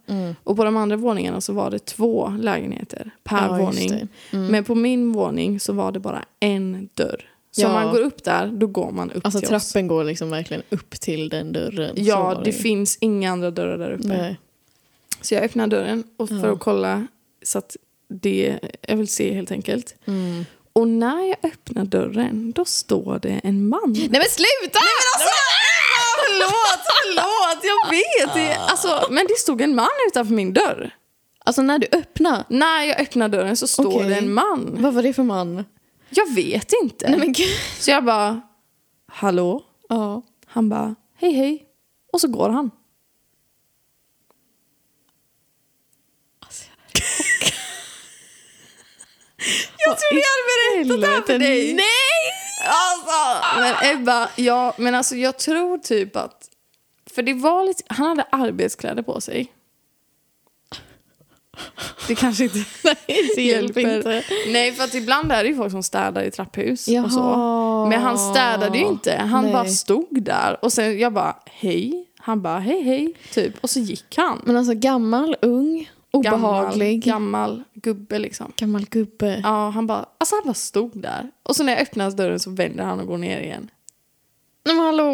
Speaker 1: och på de andra våningarna så var det två lägenheter per
Speaker 2: Ja, just Mm.
Speaker 1: våning. Men på min våning så var det bara en dörr. Så
Speaker 2: Ja.
Speaker 1: om man går upp där, då går man upp
Speaker 2: Alltså
Speaker 1: till oss.
Speaker 2: trappen går liksom verkligen upp till den dörren. Så
Speaker 1: Ja,
Speaker 2: var
Speaker 1: det,
Speaker 2: ju.
Speaker 1: finns inga andra dörrar där uppe.
Speaker 2: Nej.
Speaker 1: Så jag öppnar dörren och för att kolla så att det, jag vill se helt enkelt. Och när jag öppnar dörren, då står det en man.
Speaker 2: Nej men sluta! Nej, men
Speaker 1: Alltså, förlåt, förlåt, jag vet. Det, alltså, men det stod en man utanför min dörr.
Speaker 2: alltså när du öppnar,
Speaker 1: När jag öppnar dörren så står
Speaker 2: Okej.
Speaker 1: det en man.
Speaker 2: vad var det för man?
Speaker 1: Jag vet inte.
Speaker 2: Nej men gud.
Speaker 1: Så jag bara, hallå?
Speaker 2: Ja.
Speaker 1: Han bara, hej hej. Och så går han. jag trodde jag hade berättat det här för dig.
Speaker 2: Nej!
Speaker 1: Alltså, men Ebba, ja, men alltså jag tror typ att... För det var lite, han hade arbetskläder på sig. Det kanske inte
Speaker 2: Nej, det hjälper inte.
Speaker 1: Nej, för att ibland är det ju folk som städar i trapphus och så.
Speaker 2: Jaha.
Speaker 1: Men han städade ju inte. Han
Speaker 2: Nej.
Speaker 1: bara stod där och sen jag bara hej. Han bara hej hej typ och så gick han.
Speaker 2: Men alltså gammal, ung, obehaglig. Gammal,
Speaker 1: Gammal, gammal gubbe liksom.
Speaker 2: gubbe.
Speaker 1: Ja, han bara, alltså han bara stod där. Och så när jag öppnar dörren så vänder han och går ner igen.
Speaker 2: Nej men hallå!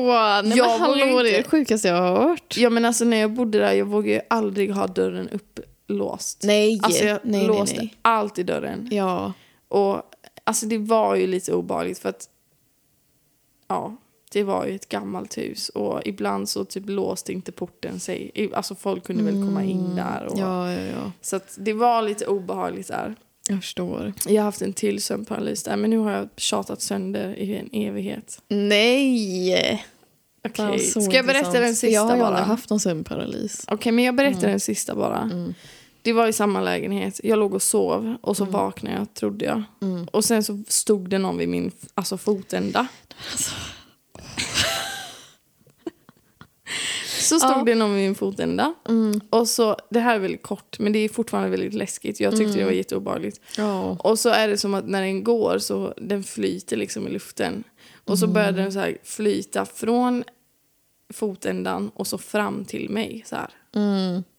Speaker 2: Nej,
Speaker 1: Jag
Speaker 2: men hallå
Speaker 1: vågar
Speaker 2: det är
Speaker 1: inte.
Speaker 2: det sjukaste jag har hört.
Speaker 1: Ja men alltså när jag bodde där, jag vågade ju aldrig ha dörren upplåst.
Speaker 2: Nej,
Speaker 1: Alltså jag
Speaker 2: nej,
Speaker 1: låste
Speaker 2: nej, nej.
Speaker 1: alltid dörren.
Speaker 2: Ja.
Speaker 1: Och alltså det var ju lite obehagligt för att ja, det var ju ett gammalt hus och ibland så typ låste inte porten sig. I- Alltså folk kunde väl komma in där och
Speaker 2: Mm, ja, ja, ja.
Speaker 1: så att det var lite obehagligt där.
Speaker 2: Jag förstår.
Speaker 1: Jag har haft en till sömnparalys där men nu har jag tjatat sönder i en evighet.
Speaker 2: Nej!
Speaker 1: Okej,
Speaker 2: Fan, så
Speaker 1: ska jag berätta
Speaker 2: intressant.
Speaker 1: den sista
Speaker 2: Jag har ju
Speaker 1: bara?
Speaker 2: aldrig haft Mm. någon sömnparalys.
Speaker 1: Okej, men jag berättar den sista bara. Det var i samma lägenhet. Jag låg och sov och
Speaker 2: Mm.
Speaker 1: så vaknade jag, trodde jag. Och sen så stod det någon vid min alltså, fotända.
Speaker 2: Alltså.
Speaker 1: så stod
Speaker 2: Ja. Mm.
Speaker 1: det någon vid min fotända. Och så, det här är väldigt kort, men det är fortfarande väldigt läskigt. Jag tyckte
Speaker 2: Mm.
Speaker 1: det var jätteobehagligt.
Speaker 2: Ja.
Speaker 1: Och så är det som att när den går så den flyter liksom i luften. Och så börjar den så här flyta från fotändan och så fram till mig så här.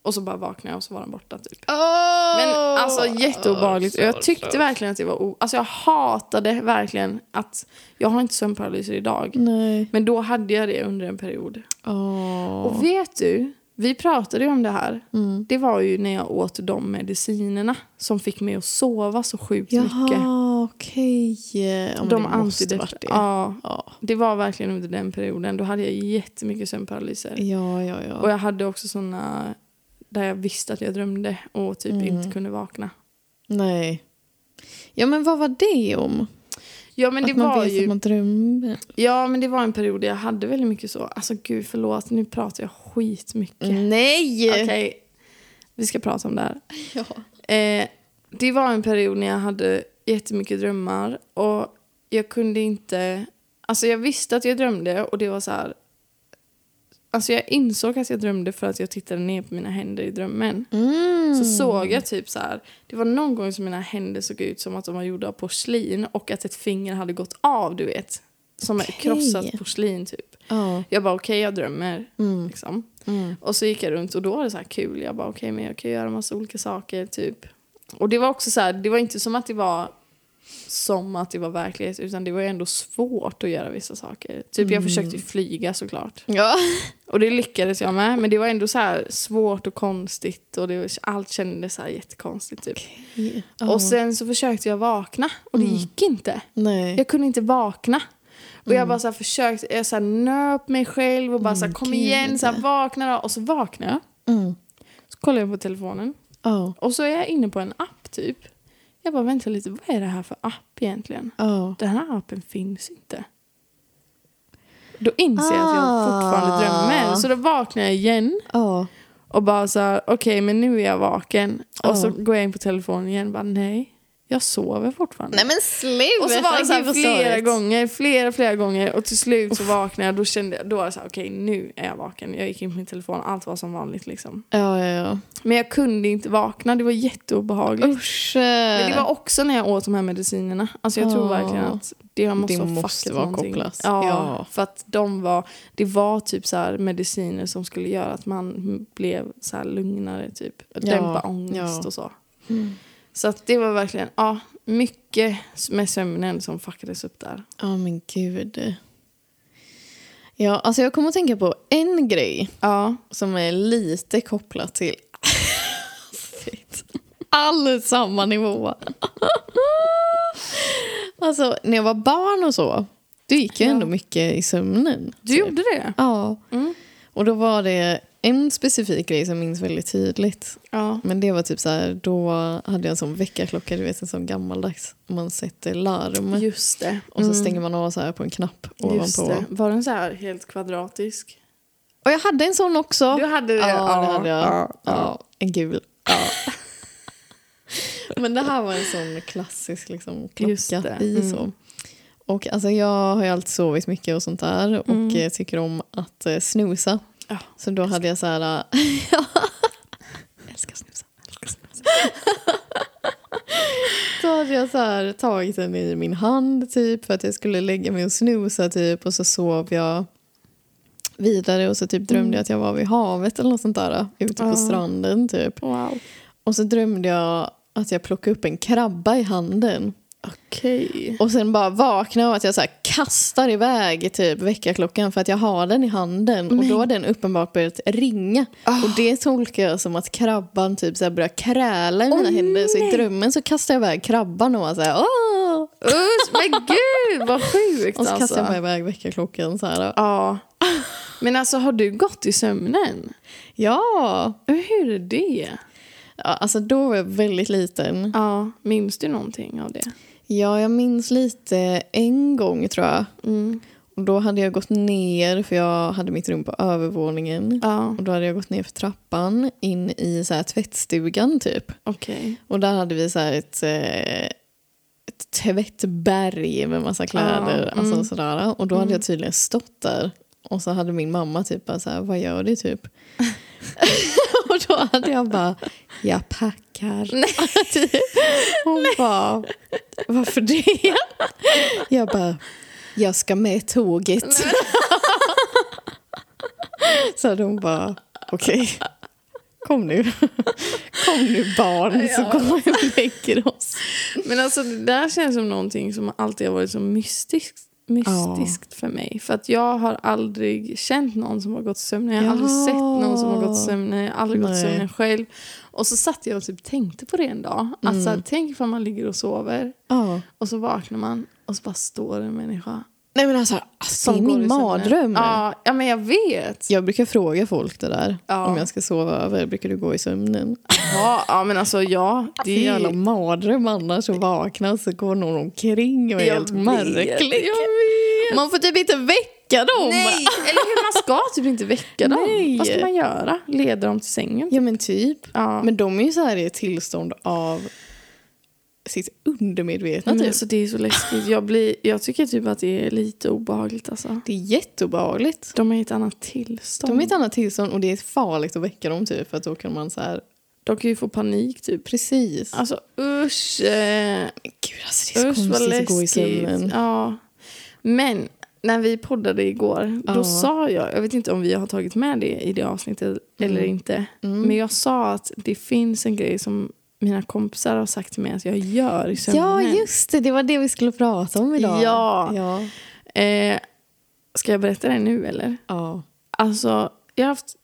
Speaker 1: Och så bara vaknade jag och så var den borta typ. Men alltså jätteobehagligt. Och jag tyckte verkligen att det var o- Alltså jag hatade verkligen att jag har inte sömnparalyser idag.
Speaker 2: Nej.
Speaker 1: Men då hade jag det under en period.
Speaker 2: Oh.
Speaker 1: Och vet du, vi pratade ju om det här.
Speaker 2: Mm.
Speaker 1: Det var ju när jag åt de medicinerna som fick mig att sova så sjukt mycket.
Speaker 2: Jaha, okej. Ja, men
Speaker 1: De
Speaker 2: det måste
Speaker 1: antidepp-
Speaker 2: varit det.
Speaker 1: Ja,
Speaker 2: Ja.
Speaker 1: det var verkligen under den perioden. Då hade jag jättemycket sömnparalyser.
Speaker 2: Ja, ja, ja.
Speaker 1: Och jag hade också såna där jag visste att jag drömde och typ
Speaker 2: Mm.
Speaker 1: inte kunde vakna.
Speaker 2: Nej. Ja, men vad var det om?
Speaker 1: Ja men, det
Speaker 2: att man
Speaker 1: var
Speaker 2: vet att
Speaker 1: ju,
Speaker 2: man drömmer.
Speaker 1: ja men det var en period där jag hade väldigt mycket så. Alltså gud förlåt, nu pratar jag skitmycket.
Speaker 2: Mm. Nej!
Speaker 1: Okej, vi ska prata om det här.
Speaker 2: Ja.
Speaker 1: Eh, det var en period när jag hade jättemycket drömmar och jag kunde inte... Alltså jag visste att jag drömde och det var så här... Alltså jag insåg att jag drömde för att jag tittade ner på mina händer i drömmen.
Speaker 2: Mm.
Speaker 1: Så såg jag typ så här... Det var någon gång som mina händer såg ut som att de var gjorda av porslin och att ett finger hade gått av, du vet. Som
Speaker 2: Okej.
Speaker 1: krossat porslin typ.
Speaker 2: Ja.
Speaker 1: Jag bara okej, jag drömmer. Liksom.
Speaker 2: Mm.
Speaker 1: Och så gick jag runt och då var det så här kul. Jag bara okej, men jag kan göra massa olika saker typ. Och det var också så här, det var inte som att det var som att det var verklighet utan det var ju ändå svårt att göra vissa saker. Typ
Speaker 2: Mm.
Speaker 1: jag försökte ju flyga såklart.
Speaker 2: Ja.
Speaker 1: Och det lyckades jag med men det var ändå så här svårt och konstigt och det, var- allt kändes så här jättekonstigt typ.
Speaker 2: Ja. Mm.
Speaker 1: Och sen så försökte jag vakna och det gick inte.
Speaker 2: Nej. Mm.
Speaker 1: Jag kunde inte vakna. Och jag bara så här försökte, jag så här nöp mig själv och bara så här, kom
Speaker 2: gud.
Speaker 1: igen, så här, vakna då. Och så vaknade jag.
Speaker 2: Mm.
Speaker 1: Så kollar jag på telefonen.
Speaker 2: Ja.
Speaker 1: Och så är jag inne på en app typ. Jag bara vänta lite, vad är det här för app egentligen?
Speaker 2: Ja.
Speaker 1: Den här appen finns inte. Då inser jag att jag
Speaker 2: Ah.
Speaker 1: fortfarande drömmer. Så då vaknar jag igen
Speaker 2: Ja.
Speaker 1: och bara så här, okej men nu är jag vaken. Och så
Speaker 2: Ah.
Speaker 1: går jag in på telefonen igen och bara nej, jag sover fortfarande.
Speaker 2: Nej men sluta!
Speaker 1: Och så var det så
Speaker 2: Gud,
Speaker 1: här
Speaker 2: vad
Speaker 1: flera
Speaker 2: störigt.
Speaker 1: gånger, flera, flera gånger och till slut så vaknade jag. Då kände jag, då var det så här, okej nu är jag vaken. Jag gick in på min telefon, allt var som vanligt liksom.
Speaker 2: Ja, ja,
Speaker 1: Men jag kunde inte vakna, det var jätteobehagligt.
Speaker 2: ja. Usch. eh.
Speaker 1: Men det var också när jag åt de här medicinerna. Alltså jag tror
Speaker 2: Ja.
Speaker 1: verkligen att det måste,
Speaker 2: Ah. Det
Speaker 1: ha fuckat
Speaker 2: måste vara
Speaker 1: någonting.
Speaker 2: kopplat.
Speaker 1: Ja,
Speaker 2: Ja.
Speaker 1: för att de var, det var typ så här mediciner som skulle göra att man blev så här lugnare typ. Dämpa ångest
Speaker 2: ja.
Speaker 1: och så.
Speaker 2: Mm.
Speaker 1: Så att det var verkligen, ja, mycket med sömnen som fuckades upp där.
Speaker 2: Ja, men gud. Ja, alltså jag kommer att tänka på en grej
Speaker 1: Ja.
Speaker 2: som är lite kopplat till Shit. allt samma nivå. alltså, när jag var barn och så, då gick jag
Speaker 1: Ja.
Speaker 2: ändå mycket i sömnen.
Speaker 1: Du gjorde det?
Speaker 2: Typ. Ja.
Speaker 1: Mm.
Speaker 2: Och då var det en specifik grej som jag minns väldigt tydligt.
Speaker 1: Ja.
Speaker 2: Men det var typ så här, då hade jag en sån väckarklocka, du vet en sån gammaldags. Man sätter larm
Speaker 1: Just det. Mm.
Speaker 2: och så stänger man av så här på en knapp
Speaker 1: Just
Speaker 2: ovanpå.
Speaker 1: det. Var den så här helt kvadratisk?
Speaker 2: Och jag hade en sån också.
Speaker 1: Du hade det?
Speaker 2: Ja, det hade jag.
Speaker 1: Ja. ja.
Speaker 2: Ja, en gul. Men det här var en sån klassisk liksom,
Speaker 1: Just
Speaker 2: klocka
Speaker 1: det,
Speaker 2: i
Speaker 1: mm.
Speaker 2: så. Och alltså, jag har ju alltid sovit mycket och sånt där och
Speaker 1: Mm.
Speaker 2: eh, tycker om att eh, snusa.
Speaker 1: Ja.
Speaker 2: Så då hade jag så här... eh, älskar snusa. Då hade jag så här, tagit den i min hand typ för att jag skulle lägga mig och snusa typ och så sov jag vidare och så typ drömde jag att jag var vid havet eller något sånt där ute på
Speaker 1: Ja.
Speaker 2: stranden typ.
Speaker 1: Wow.
Speaker 2: Och så drömde jag att jag plockade upp en krabba i handen.
Speaker 1: Okej.
Speaker 2: Och sen bara vaknade jag av att jag så här kastar iväg typ väckarklockan för att jag har den i handen. Och då har den uppenbart börjat ringa. Och det tolkar jag som att krabban typ så här börjar kräla i mina händer. Så i drömmen så kastar jag iväg krabban och var så här, Åh!
Speaker 1: Usch, men gud vad sjukt
Speaker 2: Och så
Speaker 1: alltså.
Speaker 2: kastar jag bara iväg väckarklockan så här.
Speaker 1: Ja. Men alltså har du gått i sömnen?
Speaker 2: Ja!
Speaker 1: Hur är det?
Speaker 2: Ja, Alltså då var jag väldigt liten.
Speaker 1: Ja, minns du någonting av det?
Speaker 2: Ja, jag minns lite en gång tror jag.
Speaker 1: Mm.
Speaker 2: Och då hade jag gått ner, för jag hade mitt rum på övervåningen.
Speaker 1: Ja,
Speaker 2: Och då hade jag gått ner för trappan in i så här tvättstugan typ.
Speaker 1: okej.
Speaker 2: Och där hade vi så här ett, eh, ett tvättberg med massa kläder.
Speaker 1: Ja,
Speaker 2: Alltså
Speaker 1: mm.
Speaker 2: sådär. Och då hade jag tydligen stått där. Och så hade min mamma typ bara så här, vad gör du typ? och då hade jag bara, jag packar. Typ. Hon bara, varför det? jag bara, jag ska med tåget. så hade hon bara, okej. Kom nu. Kom nu barn så kommer vi och lägger oss.
Speaker 1: Men alltså det där känns som någonting som alltid har varit så mystiskt, mystiskt för mig. För att jag har aldrig känt någon som har gått i sömnen. Jag har aldrig
Speaker 2: Ja.
Speaker 1: sett någon som har gått i sömnen. Jag har aldrig gått i
Speaker 2: Nej.
Speaker 1: sömnen själv. Och så satt jag och typ tänkte på det en dag. Att så
Speaker 2: Mm.
Speaker 1: här, tänk ifall man ligger och sover.
Speaker 2: Ja.
Speaker 1: Och så vaknar man och så bara står en människa.
Speaker 2: Nej men alltså,
Speaker 1: som
Speaker 2: det är
Speaker 1: går i
Speaker 2: min
Speaker 1: sömnen.
Speaker 2: mardröm.
Speaker 1: Ja, ja, men jag vet.
Speaker 2: Jag brukar fråga folk det där.
Speaker 1: Ja.
Speaker 2: Om jag ska sova över, brukar du gå i sömnen?
Speaker 1: Ja, ja men alltså ja.
Speaker 2: Det är en
Speaker 1: är
Speaker 2: jävla mardröm annars att vakna så går någon omkring och är
Speaker 1: Jag
Speaker 2: helt
Speaker 1: vet,
Speaker 2: märklig. Man får typ inte väcka dem.
Speaker 1: Nej, "Ah." eller hur? Man ska typ inte väcka dem.
Speaker 2: Nej.
Speaker 1: Vad ska man göra? Leda dem till sängen?
Speaker 2: Ja men typ.
Speaker 1: Ja.
Speaker 2: Men de är ju så här i ett tillstånd av sitt undermedvetna
Speaker 1: Men
Speaker 2: typ.
Speaker 1: alltså, det är så läskigt. Jag, blir, jag tycker typ att det är lite obehagligt. Alltså.
Speaker 2: Det är jätteobehagligt.
Speaker 1: De är i ett annat tillstånd.
Speaker 2: De är i ett annat tillstånd och det är farligt att väcka dem typ för att då kan man så här
Speaker 1: De kan ju få panik typ.
Speaker 2: Precis.
Speaker 1: Alltså usch. Eh,
Speaker 2: Men gud, alltså det är så
Speaker 1: usch vad
Speaker 2: konstigt att gå i
Speaker 1: läskigt.
Speaker 2: sömnen.
Speaker 1: Ja. Men när vi poddade igår, då
Speaker 2: Ja.
Speaker 1: sa jag, jag vet inte om vi har
Speaker 2: Mm.
Speaker 1: tagit med det i det avsnittet eller inte. Men jag sa att det finns en grej som mina kompisar har sagt till mig att jag gör i
Speaker 2: Ja,
Speaker 1: sömnen.
Speaker 2: just det. Det var det vi skulle prata om idag.
Speaker 1: Ja.
Speaker 2: ja.
Speaker 1: Eh, ska jag berätta det nu eller?
Speaker 2: ja.
Speaker 1: Alltså, jag har haft...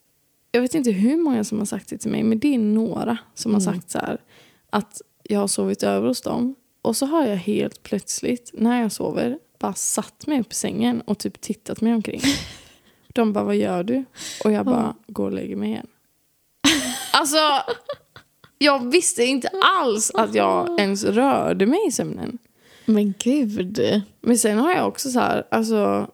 Speaker 1: Jag vet inte hur många som har sagt det till mig, men det är några som har sagt så här att jag har sovit över hos dem. Och så har jag helt plötsligt, när jag sover, bara satt mig upp i sängen och typ tittat mig omkring. De bara, vad gör du? Och jag bara, går och lägger mig igen. Alltså, jag visste inte alls att jag ens rörde mig i sömnen.
Speaker 2: Men gud.
Speaker 1: Men sen har jag också så här, alltså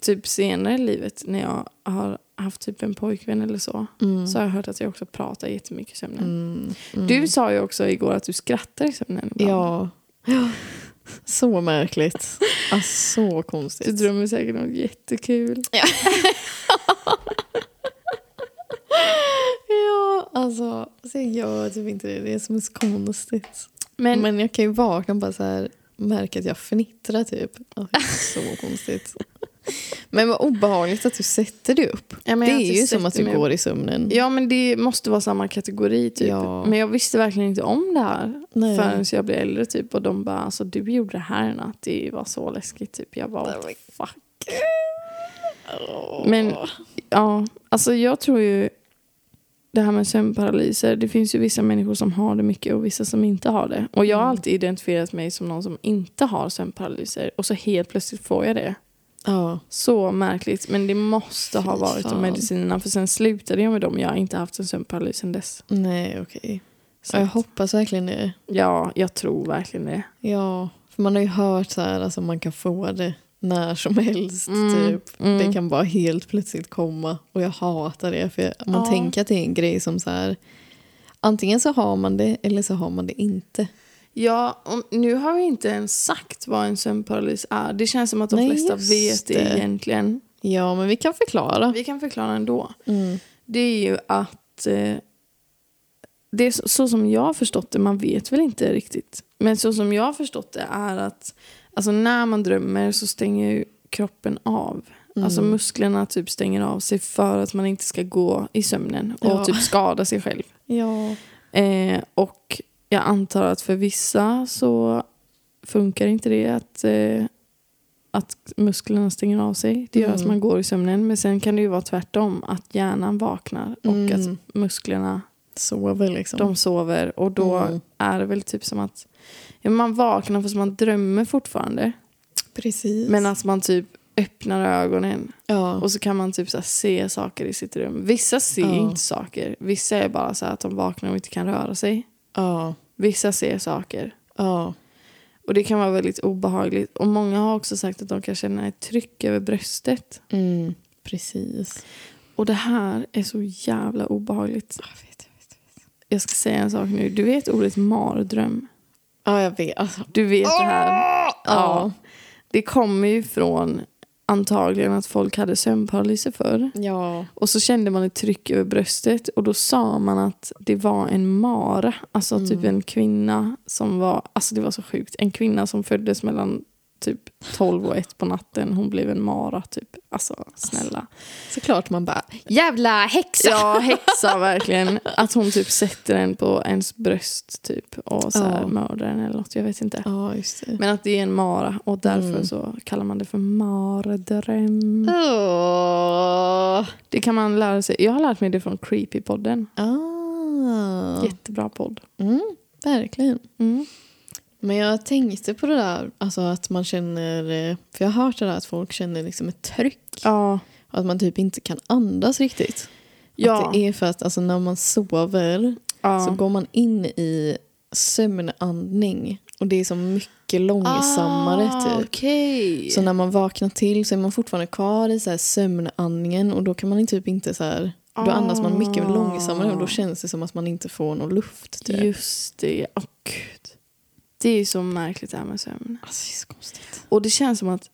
Speaker 1: typ senare i livet när jag har haft typ en pojkvän eller så.
Speaker 2: Mm.
Speaker 1: Så har jag hört att jag också pratar jättemycket i sömnen.
Speaker 2: Mm.
Speaker 1: Du sa ju också igår att du skrattar i sömnen ibland.
Speaker 2: Ja. Så märkligt. Alltså, så
Speaker 1: Du
Speaker 2: konstigt.
Speaker 1: drömmer säkert något jättekul.
Speaker 2: Ja, alltså. Så jag gör typ inte det. Det är som är så konstigt.
Speaker 1: Men,
Speaker 2: Men, jag kan ju vakna och bara så här märka att jag fnittrar typ. Ja, det är så konstigt. Men vad obehagligt att du sätter dig upp.
Speaker 1: ja, men
Speaker 2: det
Speaker 1: jag har
Speaker 2: är
Speaker 1: inte
Speaker 2: ju
Speaker 1: sett
Speaker 2: som att
Speaker 1: det,
Speaker 2: du
Speaker 1: men-
Speaker 2: går i sömnen.
Speaker 1: Ja men det måste vara samma kategori typ.
Speaker 2: Ja.
Speaker 1: Men jag visste verkligen inte om det här
Speaker 2: Nej.
Speaker 1: förrän jag blev äldre typ. Och de bara alltså du gjorde det här i natt, det var så läskigt typ. Jag bara
Speaker 2: Nej,
Speaker 1: "What the
Speaker 2: men
Speaker 1: fuck. Men ja, alltså jag tror ju det här med sömnparalyser. Det finns ju vissa människor som har det mycket och vissa som inte har det. Och jag har
Speaker 2: Mm.
Speaker 1: alltid identifierat mig som någon som inte har sömnparalyser. Och så helt plötsligt får jag det.
Speaker 2: Ja.
Speaker 1: Så märkligt. Men det måste ha
Speaker 2: Fy
Speaker 1: varit de
Speaker 2: fan.
Speaker 1: medicinerna. För sen slutade jag med dem. Jag har inte haft en sömnparalys sen dess.
Speaker 2: Nej, okej.
Speaker 1: Så
Speaker 2: Ja, Jag
Speaker 1: att-
Speaker 2: hoppas verkligen det.
Speaker 1: ja, jag tror verkligen det.
Speaker 2: Ja, för man har ju hört så här, alltså man kan få det när som helst.
Speaker 1: Mm,
Speaker 2: Typ.
Speaker 1: mm.
Speaker 2: Det kan bara helt plötsligt komma och jag hatar det. För jag, man
Speaker 1: Ja.
Speaker 2: tänker att det är en grej som så här, antingen så har man det eller så har man det inte.
Speaker 1: Ja, och nu har vi inte ens sagt vad en sömnparalys är. Det känns som att de
Speaker 2: Nej,
Speaker 1: flesta
Speaker 2: just
Speaker 1: vet det,
Speaker 2: det.
Speaker 1: egentligen.
Speaker 2: Ja, men vi kan förklara.
Speaker 1: Vi kan förklara ändå.
Speaker 2: Mm.
Speaker 1: det är ju att eh, det är så, så som jag har förstått det, man vet väl inte riktigt. Men så som jag har förstått det är att alltså när man drömmer så stänger ju kroppen av.
Speaker 2: mm.
Speaker 1: Alltså musklerna typ stänger av sig för att man inte ska gå i sömnen och
Speaker 2: Ja.
Speaker 1: typ skada sig själv.
Speaker 2: Ja.
Speaker 1: Eh, och jag antar att för vissa så funkar inte det att, eh, att musklerna stänger av sig. Det gör att
Speaker 2: Mm.
Speaker 1: man går i sömnen. Men sen kan det ju vara tvärtom. Att hjärnan vaknar och
Speaker 2: Mm.
Speaker 1: att musklerna
Speaker 2: Sover liksom.
Speaker 1: de sover. Och då
Speaker 2: Mm.
Speaker 1: är det väl typ som att ja, man vaknar fast man drömmer fortfarande.
Speaker 2: Precis.
Speaker 1: Men att man typ öppnar ögonen
Speaker 2: ja.
Speaker 1: och så kan man typ så här se saker i sitt rum. Vissa ser
Speaker 2: Ja.
Speaker 1: inte saker. Vissa är bara så här att de vaknar och inte kan röra sig.
Speaker 2: ja.
Speaker 1: Vissa ser saker.
Speaker 2: Ja.
Speaker 1: Och det kan vara väldigt obehagligt. Och många har också sagt att de kan känna ett tryck över bröstet.
Speaker 2: Mm. Precis.
Speaker 1: Och det här är så jävla obehagligt. Jag ska säga en sak nu. Du vet ordet mardröm?
Speaker 2: Ja, jag vet. Alltså,
Speaker 1: Du vet det här.
Speaker 2: ja.
Speaker 1: Det kommer ju från antagligen att folk hade sömnparalyser förr.
Speaker 2: Ja.
Speaker 1: Och så kände man ett tryck över bröstet och då sa man att det var en mara. Alltså
Speaker 2: Mm.
Speaker 1: typ en kvinna som var, alltså det var så sjukt. En kvinna som föddes mellan typ 12 och 1 på natten. Hon blev en mara typ. Alltså snälla.
Speaker 2: Såklart man bara, jävla häxa!
Speaker 1: Ja, häxa verkligen. Att hon typ sätter en på ens bröst typ och så här
Speaker 2: Ja.
Speaker 1: mördar den eller något. Jag vet inte.
Speaker 2: Ja, just det.
Speaker 1: Men att det är en mara och därför
Speaker 2: Mm.
Speaker 1: så kallar man det för mardröm.
Speaker 2: Åh.
Speaker 1: Det kan man lära sig. Jag har lärt mig det från Creepy-podden.
Speaker 2: Ah.
Speaker 1: Jättebra podd.
Speaker 2: Mm, verkligen.
Speaker 1: Mm.
Speaker 2: Men jag tänkte på det där, alltså att man känner, eh, för jag har hört det där att folk känner liksom ett tryck.
Speaker 1: Ja.
Speaker 2: Och att man typ inte kan andas riktigt.
Speaker 1: Ja.
Speaker 2: Att det är för att alltså, när man sover så
Speaker 1: ja.
Speaker 2: går man in i sömnandning. Och det är så mycket långsammare
Speaker 1: Ah,
Speaker 2: typ.
Speaker 1: Okej.
Speaker 2: Så när man vaknar till så är man fortfarande kvar i så här sömnandningen och då kan man typ inte så här, då andas man mycket
Speaker 1: Ah.
Speaker 2: långsammare och då känns det som att man inte får någon luft. Typ.
Speaker 1: Just det. Åh gud. Det är ju så märkligt det här med sömn.
Speaker 2: Alltså det är så konstigt.
Speaker 1: Och det känns som att,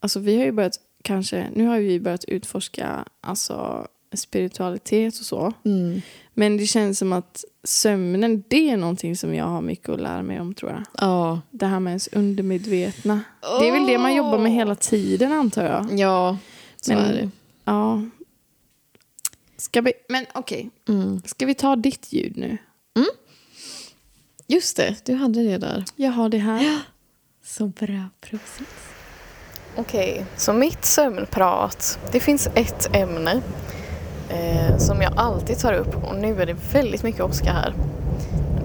Speaker 1: alltså vi har ju börjat kanske, nu har vi börjat utforska alltså spiritualitet och så.
Speaker 2: Mm.
Speaker 1: Men det känns som att sömnen, det är någonting som jag har mycket att lära mig om tror jag.
Speaker 2: Ja.
Speaker 1: Det här med ens undermedvetna. Det är väl det man jobbar med hela tiden antar
Speaker 2: Oh.
Speaker 1: jag.
Speaker 2: Ja, så
Speaker 1: Men-
Speaker 2: är det.
Speaker 1: Ja. Ska vi, men okej,
Speaker 2: Mm.
Speaker 1: ska vi ta ditt ljud nu?
Speaker 2: Just det, du hade det där.
Speaker 1: Jag har det här.
Speaker 2: Så bra, prosit. Okej, så mitt sömnprat. Det finns ett ämne eh, som jag alltid tar upp och nu är det väldigt mycket åska här.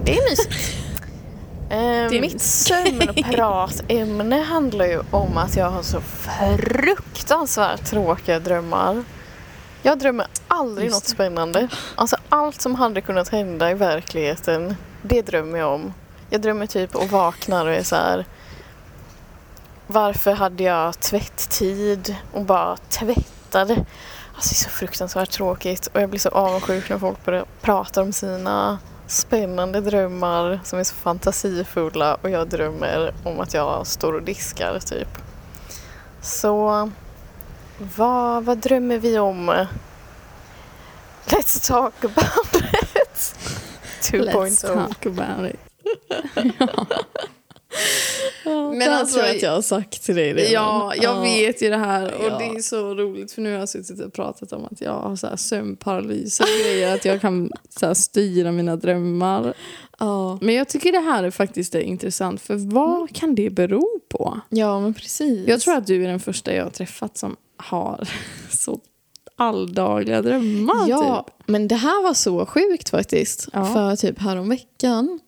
Speaker 2: Det är mysigt. Eh,
Speaker 1: är
Speaker 2: mitt sömnpratämne handlar ju om att jag har så fruktansvärt tråkiga drömmar. Jag drömmer aldrig
Speaker 1: Just
Speaker 2: något
Speaker 1: det.
Speaker 2: spännande. Alltså allt som hade kunnat hända i verkligheten, det drömmer jag om. Jag drömmer typ och vaknar och är så här. Varför hade jag tvätttid och bara tvättade? Alltså det är så fruktansvärt tråkigt och jag blir så avundsjuk när folk börjar prata om sina spännande drömmar som är så fantasifulla och jag drömmer om att jag står och diskar typ. Så vad, vad drömmer vi om? Let's talk about it! oh. 2.0
Speaker 1: talk about it.
Speaker 2: Men
Speaker 1: Men alltså-
Speaker 2: jag har sagt till dig
Speaker 1: Ja, jag vet ju det här och
Speaker 2: Ja.
Speaker 1: det är så roligt för nu har jag suttit och pratat om att jag har så här sömnparalys och grejer, att jag kan så här styra mina drömmar.
Speaker 2: Ja,
Speaker 1: Men jag tycker det här är faktiskt är intressant för vad kan det bero på?
Speaker 2: ja men precis.
Speaker 1: Jag tror att du är den första jag har träffat som har så alldagliga drömmar.
Speaker 2: Ja,
Speaker 1: Typ.
Speaker 2: men det här var så sjukt faktiskt.
Speaker 1: Ja.
Speaker 2: För typ häromveckan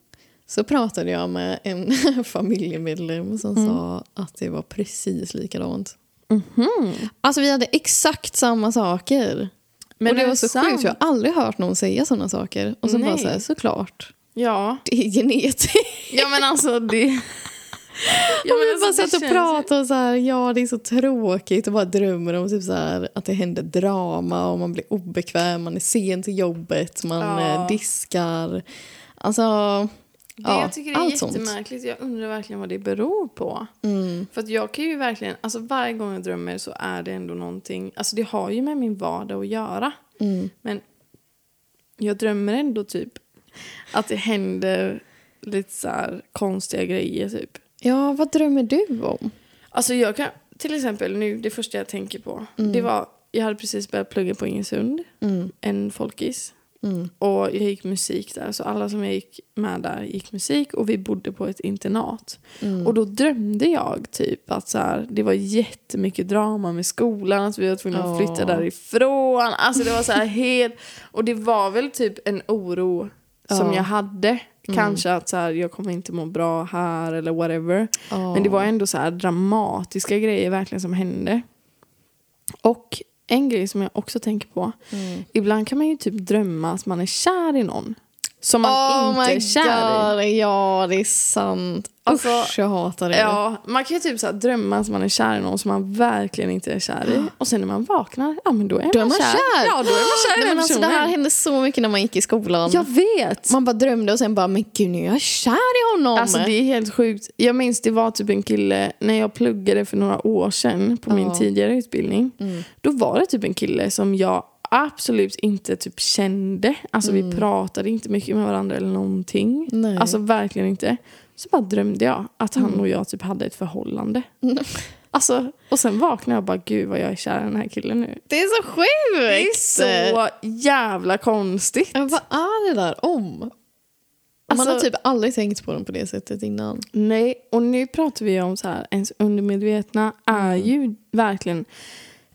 Speaker 2: så pratade jag med en familjemedlem som
Speaker 1: Mm.
Speaker 2: sa att det var precis likadant.
Speaker 1: Mhm.
Speaker 2: Alltså vi hade exakt samma saker.
Speaker 1: Men
Speaker 2: och det
Speaker 1: är
Speaker 2: var
Speaker 1: det
Speaker 2: så
Speaker 1: sant?
Speaker 2: sjukt, jag har aldrig hört någon säga sådana saker. Och så bara
Speaker 1: Nej.
Speaker 2: så här, såklart,
Speaker 1: Ja.
Speaker 2: det är genetiskt.
Speaker 1: ja, men alltså det...
Speaker 2: Ja, men
Speaker 1: alltså,
Speaker 2: bara
Speaker 1: det
Speaker 2: satt och
Speaker 1: känns ju-
Speaker 2: pratade och så här, ja det är så tråkigt och bara drömmer om typ så här, att det händer drama och man blir obekväm, man är sen till jobbet, man
Speaker 1: Ja.
Speaker 2: eh, diskar. Alltså,
Speaker 1: Det
Speaker 2: ja,
Speaker 1: jag tycker det är
Speaker 2: allt sånt.
Speaker 1: jättemärkligt. Jag undrar verkligen vad det beror på.
Speaker 2: Mm.
Speaker 1: För att jag kan ju verkligen, alltså varje gång jag drömmer så är det ändå någonting, alltså det har ju med min vardag att göra.
Speaker 2: Mm.
Speaker 1: Men jag drömmer ändå typ att det händer lite så här konstiga grejer typ.
Speaker 2: Ja, vad drömmer du om?
Speaker 1: Alltså jag kan, till exempel nu, det första jag tänker på, det var, jag hade precis börjat plugga på Ingesund,
Speaker 2: Mm.
Speaker 1: en folkis.
Speaker 2: Mm.
Speaker 1: Och jag gick musik där, så alla som jag gick med där gick musik och vi bodde på ett internat. Och då drömde jag typ att så här, det var jättemycket drama med skolan, att vi var tvungna att flytta
Speaker 2: Ja.
Speaker 1: därifrån. Alltså det var så här helt, och det var väl typ en oro som
Speaker 2: Ja.
Speaker 1: jag hade. Kanske att så här, jag kommer inte må bra här eller whatever.
Speaker 2: Ja.
Speaker 1: Men det var ändå så här dramatiska grejer verkligen som hände. Och en grej som jag också tänker på.
Speaker 2: Mm.
Speaker 1: Ibland kan man ju typ drömma att man är kär i någon. Som man inte är kär
Speaker 2: Oh
Speaker 1: i.
Speaker 2: god, ja det är sant.
Speaker 1: Alltså,
Speaker 2: Usch, jag hatar det.
Speaker 1: Ja, man kan ju typ så här drömma att man är kär i någon som man verkligen inte är kär i. Och sen när man vaknar, ja men då är,
Speaker 2: Då är man kär.
Speaker 1: Ja, då är man kär i
Speaker 2: Nej,
Speaker 1: den
Speaker 2: men alltså, det
Speaker 1: personen.
Speaker 2: här hände så mycket när man gick i skolan.
Speaker 1: jag vet.
Speaker 2: Man bara drömde och sen bara, men gud nu är jag kär i honom.
Speaker 1: Alltså det är helt sjukt. Jag minns det var typ en kille, när jag pluggade för några år sedan på min
Speaker 2: Ja. Mm.
Speaker 1: tidigare utbildning. Då var det typ en kille som jag absolut inte typ kände. Alltså
Speaker 2: Mm.
Speaker 1: vi pratade inte mycket med varandra eller någonting.
Speaker 2: Nej.
Speaker 1: Alltså verkligen inte. Så bara drömde jag att han och jag typ hade ett förhållande. Alltså, och sen vaknade jag och bara gud vad jag är kär i den här killen nu.
Speaker 2: Det är så sjukt!
Speaker 1: Det är så jävla konstigt.
Speaker 2: Ja, vad är det där om?
Speaker 1: Alltså-
Speaker 2: Man har typ aldrig tänkt på dem på det sättet innan.
Speaker 1: Nej, och nu pratar vi om så här, ens undermedvetna är ju verkligen,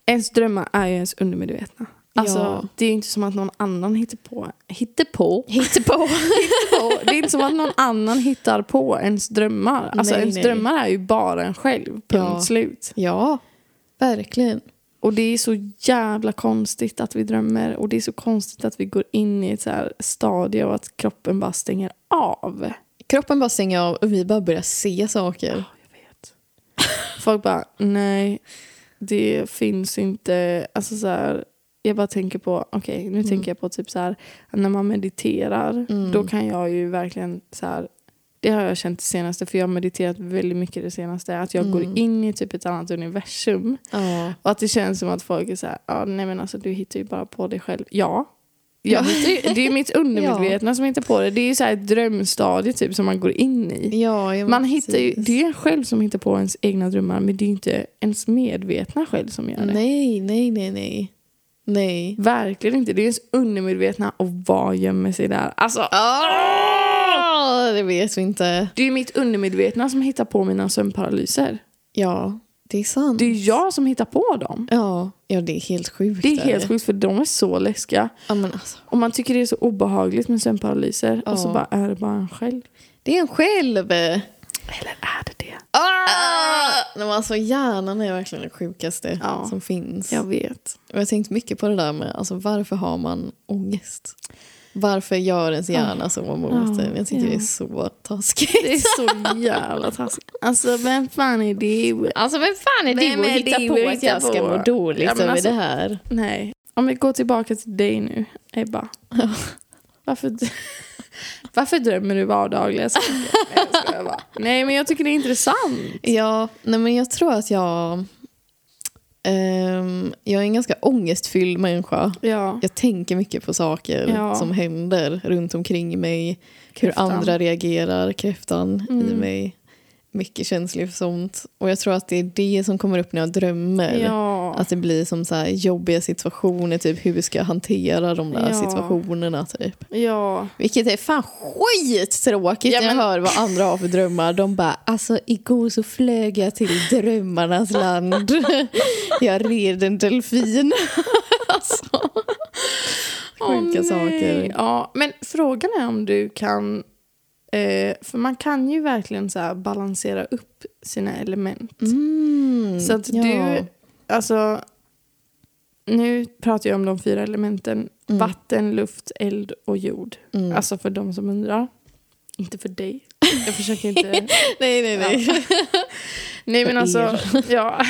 Speaker 1: ens drömmar är ju ens undermedvetna. Alltså,
Speaker 2: Ja.
Speaker 1: det är ju inte som att någon annan hittar på, hittar på,
Speaker 2: Hittar på.
Speaker 1: på. det är inte som att någon annan hittar på ens drömmar. Alltså
Speaker 2: Nej,
Speaker 1: ens
Speaker 2: nej.
Speaker 1: drömmar är ju bara en själv, punkt
Speaker 2: Ja.
Speaker 1: slut.
Speaker 2: ja, verkligen.
Speaker 1: Och det är så jävla konstigt att vi drömmer och det är så konstigt att vi går in i ett så här stadie av att kroppen bara stänger av.
Speaker 2: Kroppen bara stänger av och vi bara börjar se saker.
Speaker 1: Ja, jag vet. Folk bara, nej, det finns inte. Alltså så här, jag bara tänker på, okej, nu tänker jag på typ så här, när man mediterar, då kan jag ju verkligen så här, det har jag känt det senaste, för jag har mediterat väldigt mycket det senaste, att jag går in i typ ett annat universum.
Speaker 2: Ja.
Speaker 1: Och att det känns som att folk är så här, ja, nej men alltså du hittar ju bara på dig själv. Ja. Jag hittar ju, det är mitt undermedvetna som hittar på det. Det är ju så här ett drömstadie typ som man går in i.
Speaker 2: Ja, ja, men
Speaker 1: Man hittar ju,
Speaker 2: precis.
Speaker 1: det är en själv som hittar på ens egna drömmar men det är ju inte ens medvetna själv som gör det.
Speaker 2: Nej, nej, nej, nej. Nej.
Speaker 1: Verkligen inte. Det är ens undermedvetna och vad gömmer sig där. Alltså,
Speaker 2: Oh! Ja, det vet vi inte.
Speaker 1: Det är ju mitt undermedvetna som hittar på mina sömnparalyser.
Speaker 2: Ja, det är sant.
Speaker 1: Det är ju jag som hittar på dem.
Speaker 2: Ja, ja, det är helt sjukt.
Speaker 1: Det är helt sjukt för de är så läskiga.
Speaker 2: Ja, men alltså,
Speaker 1: Och man tycker det är så obehagligt med sömnparalyser och så
Speaker 2: Ja.
Speaker 1: bara är det bara en själv.
Speaker 2: det är en själv.
Speaker 1: Eller är det det?
Speaker 2: Ah! Nej, men alltså, hjärnan är verkligen det sjukaste
Speaker 1: Ja.
Speaker 2: som finns.
Speaker 1: Jag vet.
Speaker 2: Och jag har tänkt mycket på det där med alltså, varför har man ångest? Varför gör ens hjärna så mot
Speaker 1: Ja,
Speaker 2: en? Jag tycker
Speaker 1: Ah. ja.
Speaker 2: det är så taskigt.
Speaker 1: Det är så jävla taskigt. Alltså vem fan är du?
Speaker 2: Alltså vem fan är
Speaker 1: Vem
Speaker 2: du att
Speaker 1: är
Speaker 2: hitta
Speaker 1: du
Speaker 2: på
Speaker 1: att
Speaker 2: att jag
Speaker 1: hitta
Speaker 2: ska
Speaker 1: på?
Speaker 2: må dåligt
Speaker 1: Ja, men
Speaker 2: över
Speaker 1: alltså-
Speaker 2: det här?
Speaker 1: Nej. Om vi går tillbaka till dig nu, Ebba. Varför, d- varför drömmer du vardagliga saker? Nej, jag skojar bara. Nej, men jag tycker det är intressant.
Speaker 2: Ja, nej men jag tror att jag... ehm, jag är en ganska ångestfylld människa.
Speaker 1: Ja.
Speaker 2: Jag tänker mycket på saker
Speaker 1: Ja.
Speaker 2: som händer runt omkring mig.
Speaker 1: Kräftan.
Speaker 2: Hur andra reagerar, kräftan i
Speaker 1: Mm.
Speaker 2: mig. Mycket känslig för sånt. Och jag tror att det är det som kommer upp när jag drömmer.
Speaker 1: Ja.
Speaker 2: Att det blir som så här jobbiga situationer, typ hur ska jag hantera de där
Speaker 1: Ja.
Speaker 2: situationerna. Typ.
Speaker 1: ja.
Speaker 2: Vilket är fan skittråkigt
Speaker 1: Ja,
Speaker 2: när jag
Speaker 1: men-
Speaker 2: hör vad andra har för drömmar. De bara, alltså igår så flög jag till drömmarnas land. jag red en delfin. alltså. Sjuka
Speaker 1: Åh, nej.
Speaker 2: saker.
Speaker 1: Ja, men frågan är om du kan... Eh, för man kan ju verkligen så här balansera upp sina element.
Speaker 2: Mm,
Speaker 1: Så att
Speaker 2: ja.
Speaker 1: du, alltså... Nu pratar jag om de fyra elementen.
Speaker 2: Mm.
Speaker 1: Vatten, luft, eld och jord.
Speaker 2: Mm.
Speaker 1: Alltså för de som undrar. Inte för dig. Jag försöker inte...
Speaker 2: nej, nej, nej.
Speaker 1: Nej men
Speaker 2: För
Speaker 1: alltså,
Speaker 2: er.
Speaker 1: ja.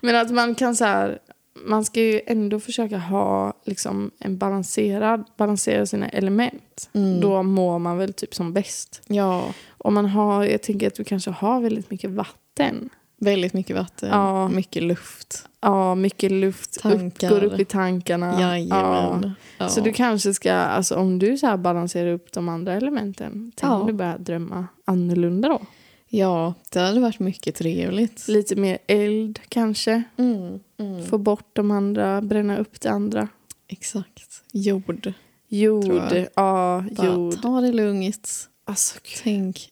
Speaker 1: Men att man kan så här, man ska ju ändå försöka ha liksom en balanserad, balansera sina element.
Speaker 2: Mm.
Speaker 1: Då mår man väl typ som bäst.
Speaker 2: Ja,
Speaker 1: Om man har, jag tänker att du kanske har väldigt mycket vatten.
Speaker 2: väldigt mycket vatten,
Speaker 1: Ja.
Speaker 2: mycket luft.
Speaker 1: Ja, mycket luft, upp,
Speaker 2: Tankar.
Speaker 1: går upp i tankarna.
Speaker 2: Jajamän. Ja.
Speaker 1: Så du kanske ska, alltså om du så här balanserar upp de andra elementen, tänk
Speaker 2: Ja.
Speaker 1: om du börjar drömma annorlunda då?
Speaker 2: ja, det hade varit mycket trevligt.
Speaker 1: Lite mer eld kanske,
Speaker 2: Mm, mm.
Speaker 1: få bort de andra, bränna upp det andra.
Speaker 2: Exakt. Jord. Tror
Speaker 1: Jord,
Speaker 2: jag.
Speaker 1: ja,
Speaker 2: Bara
Speaker 1: jord.
Speaker 2: ta det lugnt.
Speaker 1: Alltså, gud,
Speaker 2: Tänk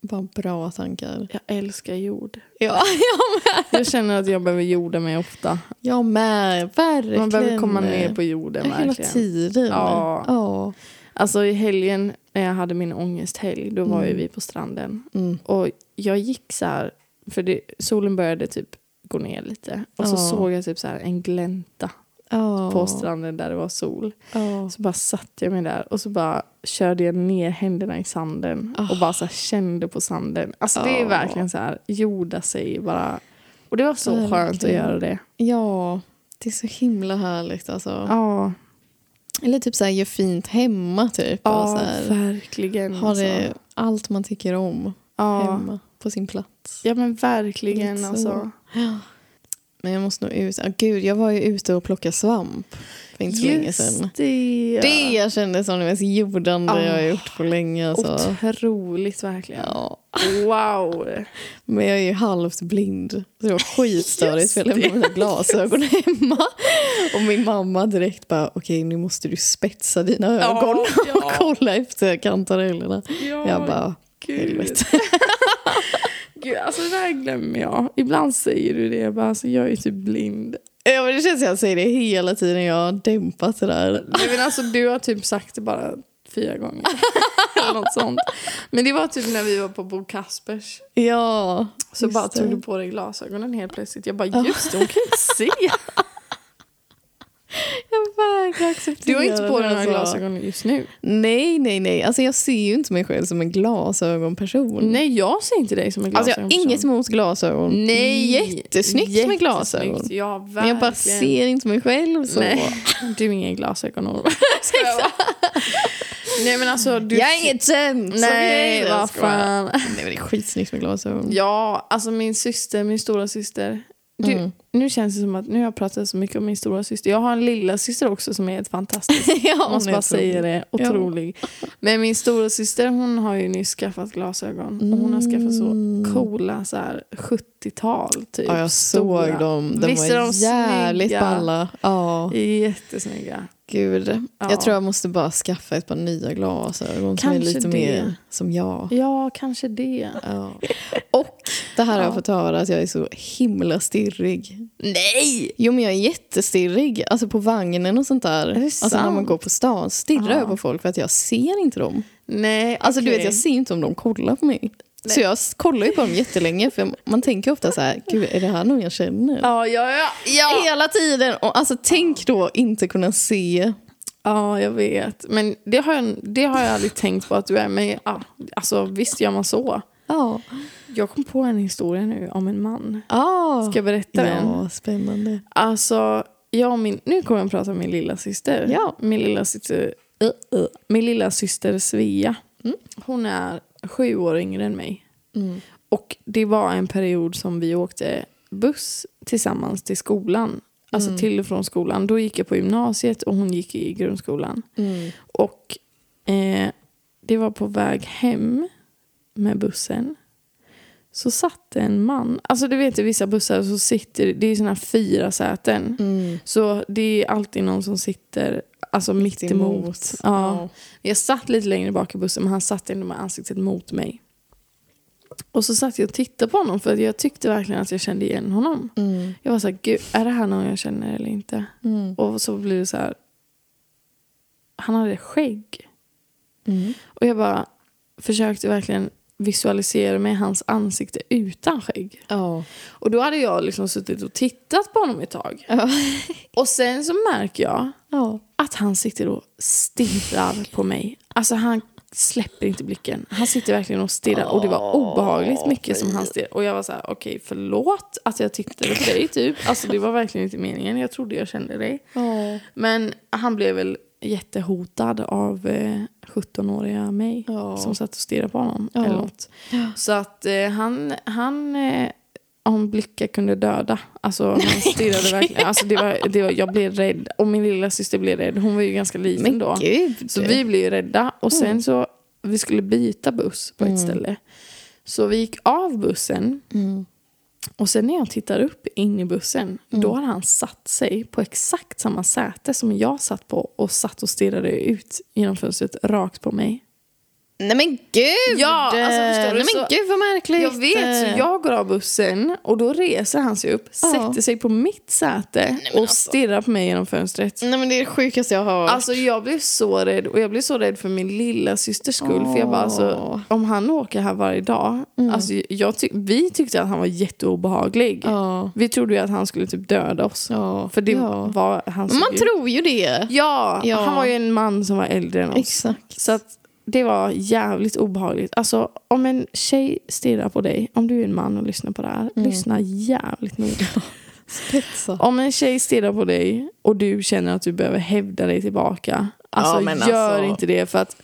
Speaker 2: bara bra tankar.
Speaker 1: jag älskar jord.
Speaker 2: Ja,
Speaker 1: Jag känner att jag behöver jorda mig ofta.
Speaker 2: jag med. Verkligen.
Speaker 1: Man behöver komma ner på jorden
Speaker 2: Hela
Speaker 1: verkligen.
Speaker 2: tiden.
Speaker 1: Ja.
Speaker 2: ja.
Speaker 1: Alltså i helgen när jag hade min ångesthelg, då var ju
Speaker 2: Mm.
Speaker 1: vi på stranden.
Speaker 2: Mm.
Speaker 1: Och jag gick så här, för det, solen började typ gå ner lite. Och så
Speaker 2: Ja.
Speaker 1: såg jag typ så här en glänta
Speaker 2: Ja.
Speaker 1: på stranden där det var sol.
Speaker 2: Ja.
Speaker 1: Och så bara satte jag mig där och så bara körde jag ner händerna i sanden och bara så här kände på sanden. Alltså det är
Speaker 2: Ah.
Speaker 1: verkligen så här, jorda sig bara. Och det var så
Speaker 2: Verkligen.
Speaker 1: skönt att göra det.
Speaker 2: ja, det är så himla härligt. Alltså.
Speaker 1: Ja,
Speaker 2: Eller typ så här, gör fint hemma. Typ.
Speaker 1: ja
Speaker 2: Och så här,
Speaker 1: verkligen.
Speaker 2: ha
Speaker 1: alltså.
Speaker 2: det, allt man tycker om
Speaker 1: ja.
Speaker 2: hemma på sin plats.
Speaker 1: ja, men verkligen
Speaker 2: Lite så.
Speaker 1: alltså.
Speaker 2: Men jag måste nog ut. Ah, gud, jag var ju ute och plockade svamp för inte så länge sedan.
Speaker 1: det.
Speaker 2: Det jag kände som det mest jordande
Speaker 1: Ah.
Speaker 2: jag har gjort på länge. Alltså.
Speaker 1: Otroligt verkligen.
Speaker 2: Ja.
Speaker 1: Wow.
Speaker 2: Men jag är ju halvt blind. Så det var skitstörigt
Speaker 1: Just
Speaker 2: för jag lämnade mina glasögon hemma. Och min mamma direkt bara okej nu måste du spetsa dina ögon och
Speaker 1: ja,
Speaker 2: kolla efter kantarellerna.
Speaker 1: ja,
Speaker 2: jag bara
Speaker 1: gud.
Speaker 2: helvete.
Speaker 1: gud. Alltså det här glömmer jag. Ibland säger du det, jag bara alltså jag är typ blind.
Speaker 2: Ja, men det känns som jag säger det hela tiden. Jag har dämpat det där.
Speaker 1: Nej, men alltså, du har typ sagt det bara fyra gånger. Eller något sånt. Men det var typ när vi var på Bo Kaspers.
Speaker 2: Ja.
Speaker 1: Så
Speaker 2: Just
Speaker 1: bara tog
Speaker 2: det.
Speaker 1: du på dig glasögonen helt plötsligt. Jag bara, just det, hon kan inte se.
Speaker 2: Jag vägrar acceptera
Speaker 1: Du har inte på dig några
Speaker 2: alltså.
Speaker 1: glasögon just nu.
Speaker 2: Nej, nej, nej. Alltså, jag ser ju inte mig själv som en glasögonperson.
Speaker 1: Nej, jag ser inte dig som en
Speaker 2: Alltså, jag
Speaker 1: glasögonperson.
Speaker 2: har inget emot glasögon.
Speaker 1: Nej.
Speaker 2: Jättesnyggt med glasögon.
Speaker 1: Jättesnyggt, Ja, verkligen.
Speaker 2: Men jag bara ser inte mig själv så.
Speaker 1: Nej, du är ingen glasögonorm. Ska jag vara? Nej men alltså du...
Speaker 2: Jag är inget tönt!
Speaker 1: Nej,
Speaker 2: okej, jag
Speaker 1: vad
Speaker 2: skojar.
Speaker 1: fan.
Speaker 2: Nej, men det är skitsnyggt med glasögon.
Speaker 1: Ja, alltså min syster, min stora syster Du,
Speaker 2: Mm.
Speaker 1: Nu känns det som att nu har jag pratat så mycket om min stora syster. Jag har en lilla syster också som är ett fantastiskt.
Speaker 2: ja,
Speaker 1: Jag måste
Speaker 2: nej,
Speaker 1: bara
Speaker 2: jag tror-
Speaker 1: säga det.
Speaker 2: Ja.
Speaker 1: Otrolig. Men min stora syster hon har ju nyss skaffat glasögon. Och hon har skaffat så coola så här 70-tal typ.
Speaker 2: Mm. Ja, jag
Speaker 1: Stora.
Speaker 2: såg dem. De
Speaker 1: Visst är
Speaker 2: var
Speaker 1: de
Speaker 2: jävligt
Speaker 1: snygga?
Speaker 2: balla. Ja,
Speaker 1: Jättesnygga.
Speaker 2: gud.
Speaker 1: Ja.
Speaker 2: Jag tror jag måste bara skaffa ett par nya glasögon som är
Speaker 1: Kanske
Speaker 2: lite
Speaker 1: det.
Speaker 2: mer som jag.
Speaker 1: Ja, kanske det.
Speaker 2: Ja. Och det här har jag
Speaker 1: Ja.
Speaker 2: fått höra att jag är så himla stirrig.
Speaker 1: Nej!
Speaker 2: Jo men jag är jättestirrig, alltså på vagnen och sånt där.
Speaker 1: det
Speaker 2: Alltså när man
Speaker 1: sant?
Speaker 2: går på stan stirrar
Speaker 1: Ja.
Speaker 2: jag på folk för att jag ser inte dem.
Speaker 1: Nej,
Speaker 2: Alltså du
Speaker 1: okej.
Speaker 2: vet jag ser inte om de kollar på mig. Så jag s- kollar ju på dem jättelänge för man tänker ofta så här, gud är det här någon jag känner?
Speaker 1: Ja, ja, ja. Ja.
Speaker 2: Hela tiden! Och alltså tänk då inte kunna se.
Speaker 1: ja, jag vet. Men det har jag, det har jag aldrig tänkt på att du är. Men ja, alltså, visst gör man så.
Speaker 2: Ja.
Speaker 1: Jag kom på en historia nu om en man.
Speaker 2: Ah.
Speaker 1: Ska jag berätta den?
Speaker 2: Ja, spännande.
Speaker 1: Alltså, jag och min, nu kommer jag att prata om min lilla syster.
Speaker 2: Ja.
Speaker 1: Min lilla syster, uh, uh. Min lilla syster Svea. Hon är sju år yngre än mig.
Speaker 2: Mm,
Speaker 1: Och det var en period som vi åkte buss tillsammans till skolan. Alltså till och från skolan. Då gick jag på gymnasiet och hon gick i grundskolan.
Speaker 2: mm,
Speaker 1: Och eh, det var på väg hem med bussen. Så satt en man, alltså du vet i vissa bussar så sitter, det är sådana här fyra säten.
Speaker 2: mm.
Speaker 1: Så det är alltid någon som sitter alltså mitt emot. Ja. Jag satt lite längre bak i bussen men han satt ändå med ansiktet mot mig. Och så satt jag och tittade på honom för att jag tyckte verkligen att jag kände igen honom.
Speaker 2: Mm.
Speaker 1: Jag var så här, gud är det här någon jag känner eller inte?
Speaker 2: Mm.
Speaker 1: Och så blir det så här, han hade skägg.
Speaker 2: Mm.
Speaker 1: Och jag bara försökte verkligen visualisera mig hans ansikte utan skägg.
Speaker 2: Ja.
Speaker 1: Och då hade jag liksom suttit och tittat på honom ett tag.
Speaker 2: Ja.
Speaker 1: Och sen så märker jag
Speaker 2: Ja.
Speaker 1: att han sitter och stirrar på mig. Alltså han släpper inte blicken. Han sitter verkligen och stirrar och det var obehagligt mycket som han stirrade. Och jag var så här, okej förlåt att jag tittade på dig typ. Alltså det var verkligen inte meningen. Jag trodde jag kände dig.
Speaker 2: Ja.
Speaker 1: Men han blev väl jättehotad av eh, 17-åriga mig
Speaker 2: Ja.
Speaker 1: som satt och stirrade på honom.
Speaker 2: Ja.
Speaker 1: Eller något. Så att eh, han, han eh, om blickar kunde döda. Alltså han stirrade verkligen. Alltså, det var, det var, jag blev rädd och min lilla syster blev rädd. Hon var ju ganska liten
Speaker 2: Men
Speaker 1: då.
Speaker 2: gud. Mm.
Speaker 1: Så vi blev ju rädda och sen så vi skulle byta buss på ett ställe. Så vi gick av bussen
Speaker 2: Mm.
Speaker 1: och sen när jag tittar upp in i bussen, då har han satt sig på exakt samma säte som jag satt på och satt och stirrade ut genom fönstret rakt på mig.
Speaker 2: Nej men gud!
Speaker 1: Ja, alltså, förstår du,
Speaker 2: Nej men
Speaker 1: så-
Speaker 2: gud vad märkligt. Eh.
Speaker 1: Jag vet, så jag går av bussen och då reser han sig upp,
Speaker 2: Ja. alltså.
Speaker 1: sätter sig på mitt säte och stirrar på mig genom fönstret.
Speaker 2: Nej men det är det sjukaste jag har hört.
Speaker 1: Alltså jag blev så rädd och jag blev så rädd för min lilla systers skull. För jag bara alltså, om han åker här varje dag.
Speaker 2: Mm.
Speaker 1: Alltså, jag ty- vi tyckte att han var jätteobehaglig.
Speaker 2: Ja.
Speaker 1: Vi trodde ju att han skulle typ döda oss.
Speaker 2: Ja.
Speaker 1: För det
Speaker 2: Ja.
Speaker 1: var han
Speaker 2: Men
Speaker 1: såg
Speaker 2: man
Speaker 1: ut-
Speaker 2: tror ju det.
Speaker 1: Ja,
Speaker 2: Ja.
Speaker 1: han var ju en man som var äldre än oss.
Speaker 2: Exakt.
Speaker 1: Så att det var jävligt obehagligt. Alltså om en tjej stirrar på dig, om du är en man och lyssnar på det här,
Speaker 2: Mm.
Speaker 1: lyssna jävligt noga.
Speaker 2: Spetsa.
Speaker 1: Om en tjej stirrar på dig och du känner att du behöver hävda dig tillbaka. Alltså
Speaker 2: Ja, men
Speaker 1: gör
Speaker 2: alltså-
Speaker 1: inte det för att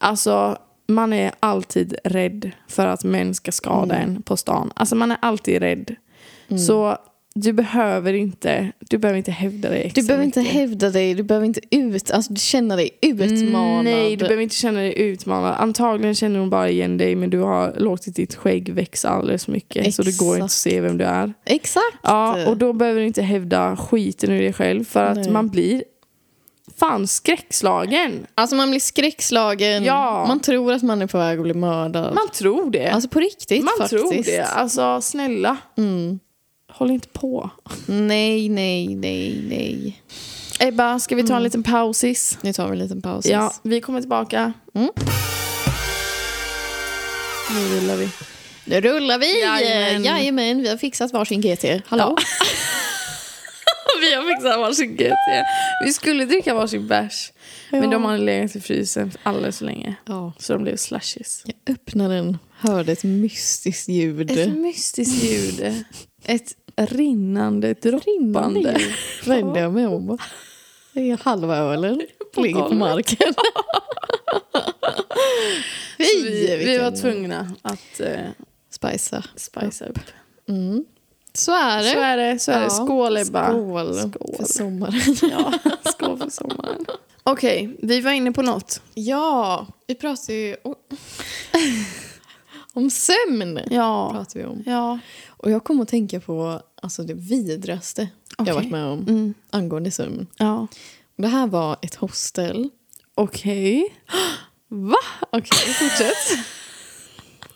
Speaker 1: alltså man är alltid rädd för att män ska skada
Speaker 2: Mm.
Speaker 1: en på stan. Alltså man är alltid rädd. Så du behöver inte, du behöver inte hävda dig
Speaker 2: Du
Speaker 1: extra
Speaker 2: behöver inte
Speaker 1: mycket.
Speaker 2: hävda dig, du behöver inte ut, alltså du känner dig utmanad.
Speaker 1: Nej, du behöver inte känna dig utmanad. Antagligen känner hon bara igen dig men du har låtit ditt skägg växa alldeles för mycket så det går inte att se vem du är.
Speaker 2: Exakt.
Speaker 1: Ja, och då behöver du inte hävda skiten ur dig själv för att
Speaker 2: Typ. Nej.
Speaker 1: man blir fan skräckslagen.
Speaker 2: Alltså man blir skräckslagen,
Speaker 1: Ja.
Speaker 2: man tror att man är på väg att bli mördad.
Speaker 1: Man tror det.
Speaker 2: alltså på riktigt
Speaker 1: man
Speaker 2: faktiskt.
Speaker 1: tror det. Alltså snälla,
Speaker 2: Mm.
Speaker 1: håll inte på.
Speaker 2: Nej, nej, nej, nej. Mm.
Speaker 1: Ebba, ska vi ta en liten pausis?
Speaker 2: Nu tar vi en liten paus.
Speaker 1: Ja, vi kommer tillbaka.
Speaker 2: Mm.
Speaker 1: Nu rullar vi.
Speaker 2: Nu rullar vi!
Speaker 1: Jajamän.
Speaker 2: Jajamän. vi har fixat varsin GT. Hallå?
Speaker 1: Vi har fixat varsin GT. Vi skulle dricka varsin bärs. Men
Speaker 2: Ja.
Speaker 1: de hade legat i frysen alldeles för länge.
Speaker 2: Ja.
Speaker 1: Så de blev slushies.
Speaker 2: Jag öppnade den, hörde ett mystiskt ljud.
Speaker 1: Ett mystiskt ljud. Ett rinnande, droppande.
Speaker 2: Rinnande ljud. Vände jag mig om. Det är Halva ölen ligger på
Speaker 1: golvet.
Speaker 2: marken.
Speaker 1: Så
Speaker 2: Fy,
Speaker 1: Vi, vi
Speaker 2: vilken
Speaker 1: var tvungna att eh,
Speaker 2: Spicea.
Speaker 1: spicea upp.
Speaker 2: Mm. Så är det.
Speaker 1: Så är det. Så är det.
Speaker 2: Ja.
Speaker 1: Skål Ebba.
Speaker 2: Skål.
Speaker 1: Skål.
Speaker 2: för sommaren.
Speaker 1: Ja, skål för sommaren. Okej, vi var inne på något.
Speaker 2: Ja, vi pratar ju om, om sömn.
Speaker 1: Ja.
Speaker 2: Pratar vi om.
Speaker 1: Ja.
Speaker 2: Och jag kom att tänka på alltså, det vidraste jag
Speaker 1: Okej.
Speaker 2: varit med om
Speaker 1: Mm.
Speaker 2: angående sömn.
Speaker 1: Ja.
Speaker 2: Det här var ett hostel.
Speaker 1: Okej. Va?
Speaker 2: Okej, fortsätt.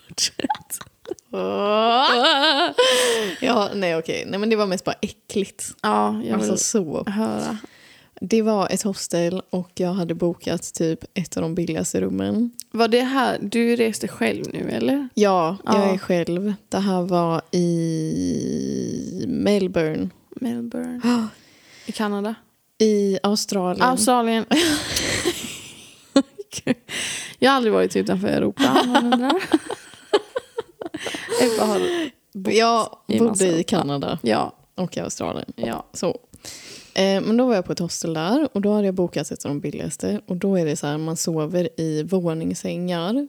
Speaker 1: Fortsätt.
Speaker 2: ja, nej okej. Nej men det var mest bara äckligt.
Speaker 1: Ja, jag vill
Speaker 2: Alltså så.
Speaker 1: höra.
Speaker 2: Det var ett hostel och jag hade bokat typ ett av de billigaste rummen.
Speaker 1: Var det här, du reste själv nu eller?
Speaker 2: Ja, jag
Speaker 1: Ja.
Speaker 2: är själv. Det här var i Melbourne.
Speaker 1: Melbourne. I Kanada?
Speaker 2: I Australien.
Speaker 1: Australien. jag har aldrig varit utanför Europa om man undrar. Ebba har...
Speaker 2: jag
Speaker 1: i
Speaker 2: bodde
Speaker 1: massa-
Speaker 2: i Kanada
Speaker 1: Ja,
Speaker 2: och i Australien.
Speaker 1: ja.
Speaker 2: Så. Eh, men då var jag på ett hostel där och då hade jag bokat ett av de billigaste. Och då är det så här, man sover i våningssängar.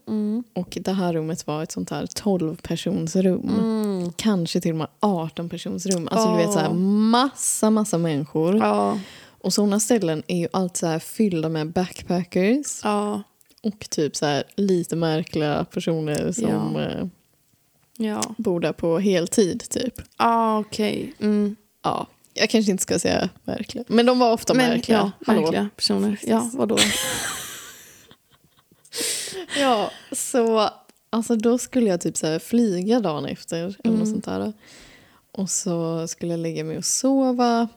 Speaker 2: Och det här rummet var ett sånt här 12-personsrum.
Speaker 1: Mm.
Speaker 2: Kanske till och med 18-personsrum. Alltså du vet så här
Speaker 1: Åh.
Speaker 2: massa, massa människor.
Speaker 1: Ja,
Speaker 2: Och sådana ställen är ju alltid så här fyllda med backpackers.
Speaker 1: ja,
Speaker 2: Och typ så här lite märkliga personer som
Speaker 1: Ja.
Speaker 2: eh,
Speaker 1: ja.
Speaker 2: bor där på heltid typ.
Speaker 1: Ja, okej. Mm.
Speaker 2: Ja, jag kanske inte ska säga märkliga. Men de var ofta
Speaker 1: Men,
Speaker 2: märkliga.
Speaker 1: Ja,
Speaker 2: Hallå.
Speaker 1: märkliga personer. Ja, vadå?
Speaker 2: Ja, så alltså då skulle jag typ så här flyga dagen efter eller
Speaker 1: Mm.
Speaker 2: något sånt där. Och så skulle jag lägga mig och sova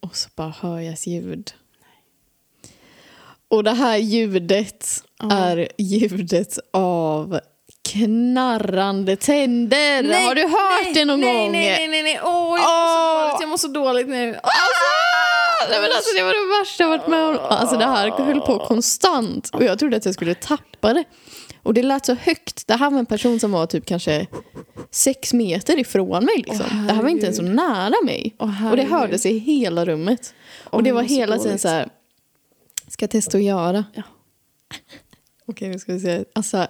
Speaker 2: och så bara hör jag ett ljud. Och det här ljudet
Speaker 1: Ja.
Speaker 2: är ljudet av knarrande tänder. Har du hört
Speaker 1: nej,
Speaker 2: det någon
Speaker 1: nej,
Speaker 2: gång?
Speaker 1: Nej, nej, nej, nej. Åh, jag mår så
Speaker 2: Åh.
Speaker 1: dåligt. Jag mår så dåligt nu. Åh,
Speaker 2: Ah! Nej, men alltså, det var det värsta jag varit
Speaker 1: Ah!
Speaker 2: med om. Alltså, det här höll på konstant och jag trodde att jag skulle tappa det. Och det lät så högt. Det här var en person som var typ kanske sex meter ifrån mig. Liksom.
Speaker 1: Åh,
Speaker 2: det här var inte ens så nära mig.
Speaker 1: Åh, herregud.
Speaker 2: och det hördes i hela rummet.
Speaker 1: Åh,
Speaker 2: Och det var
Speaker 1: det är så
Speaker 2: hela tiden
Speaker 1: dåligt.
Speaker 2: så här. Ska jag testa att göra?
Speaker 1: Ja.
Speaker 2: Okej, nu ska vi se. Alltså,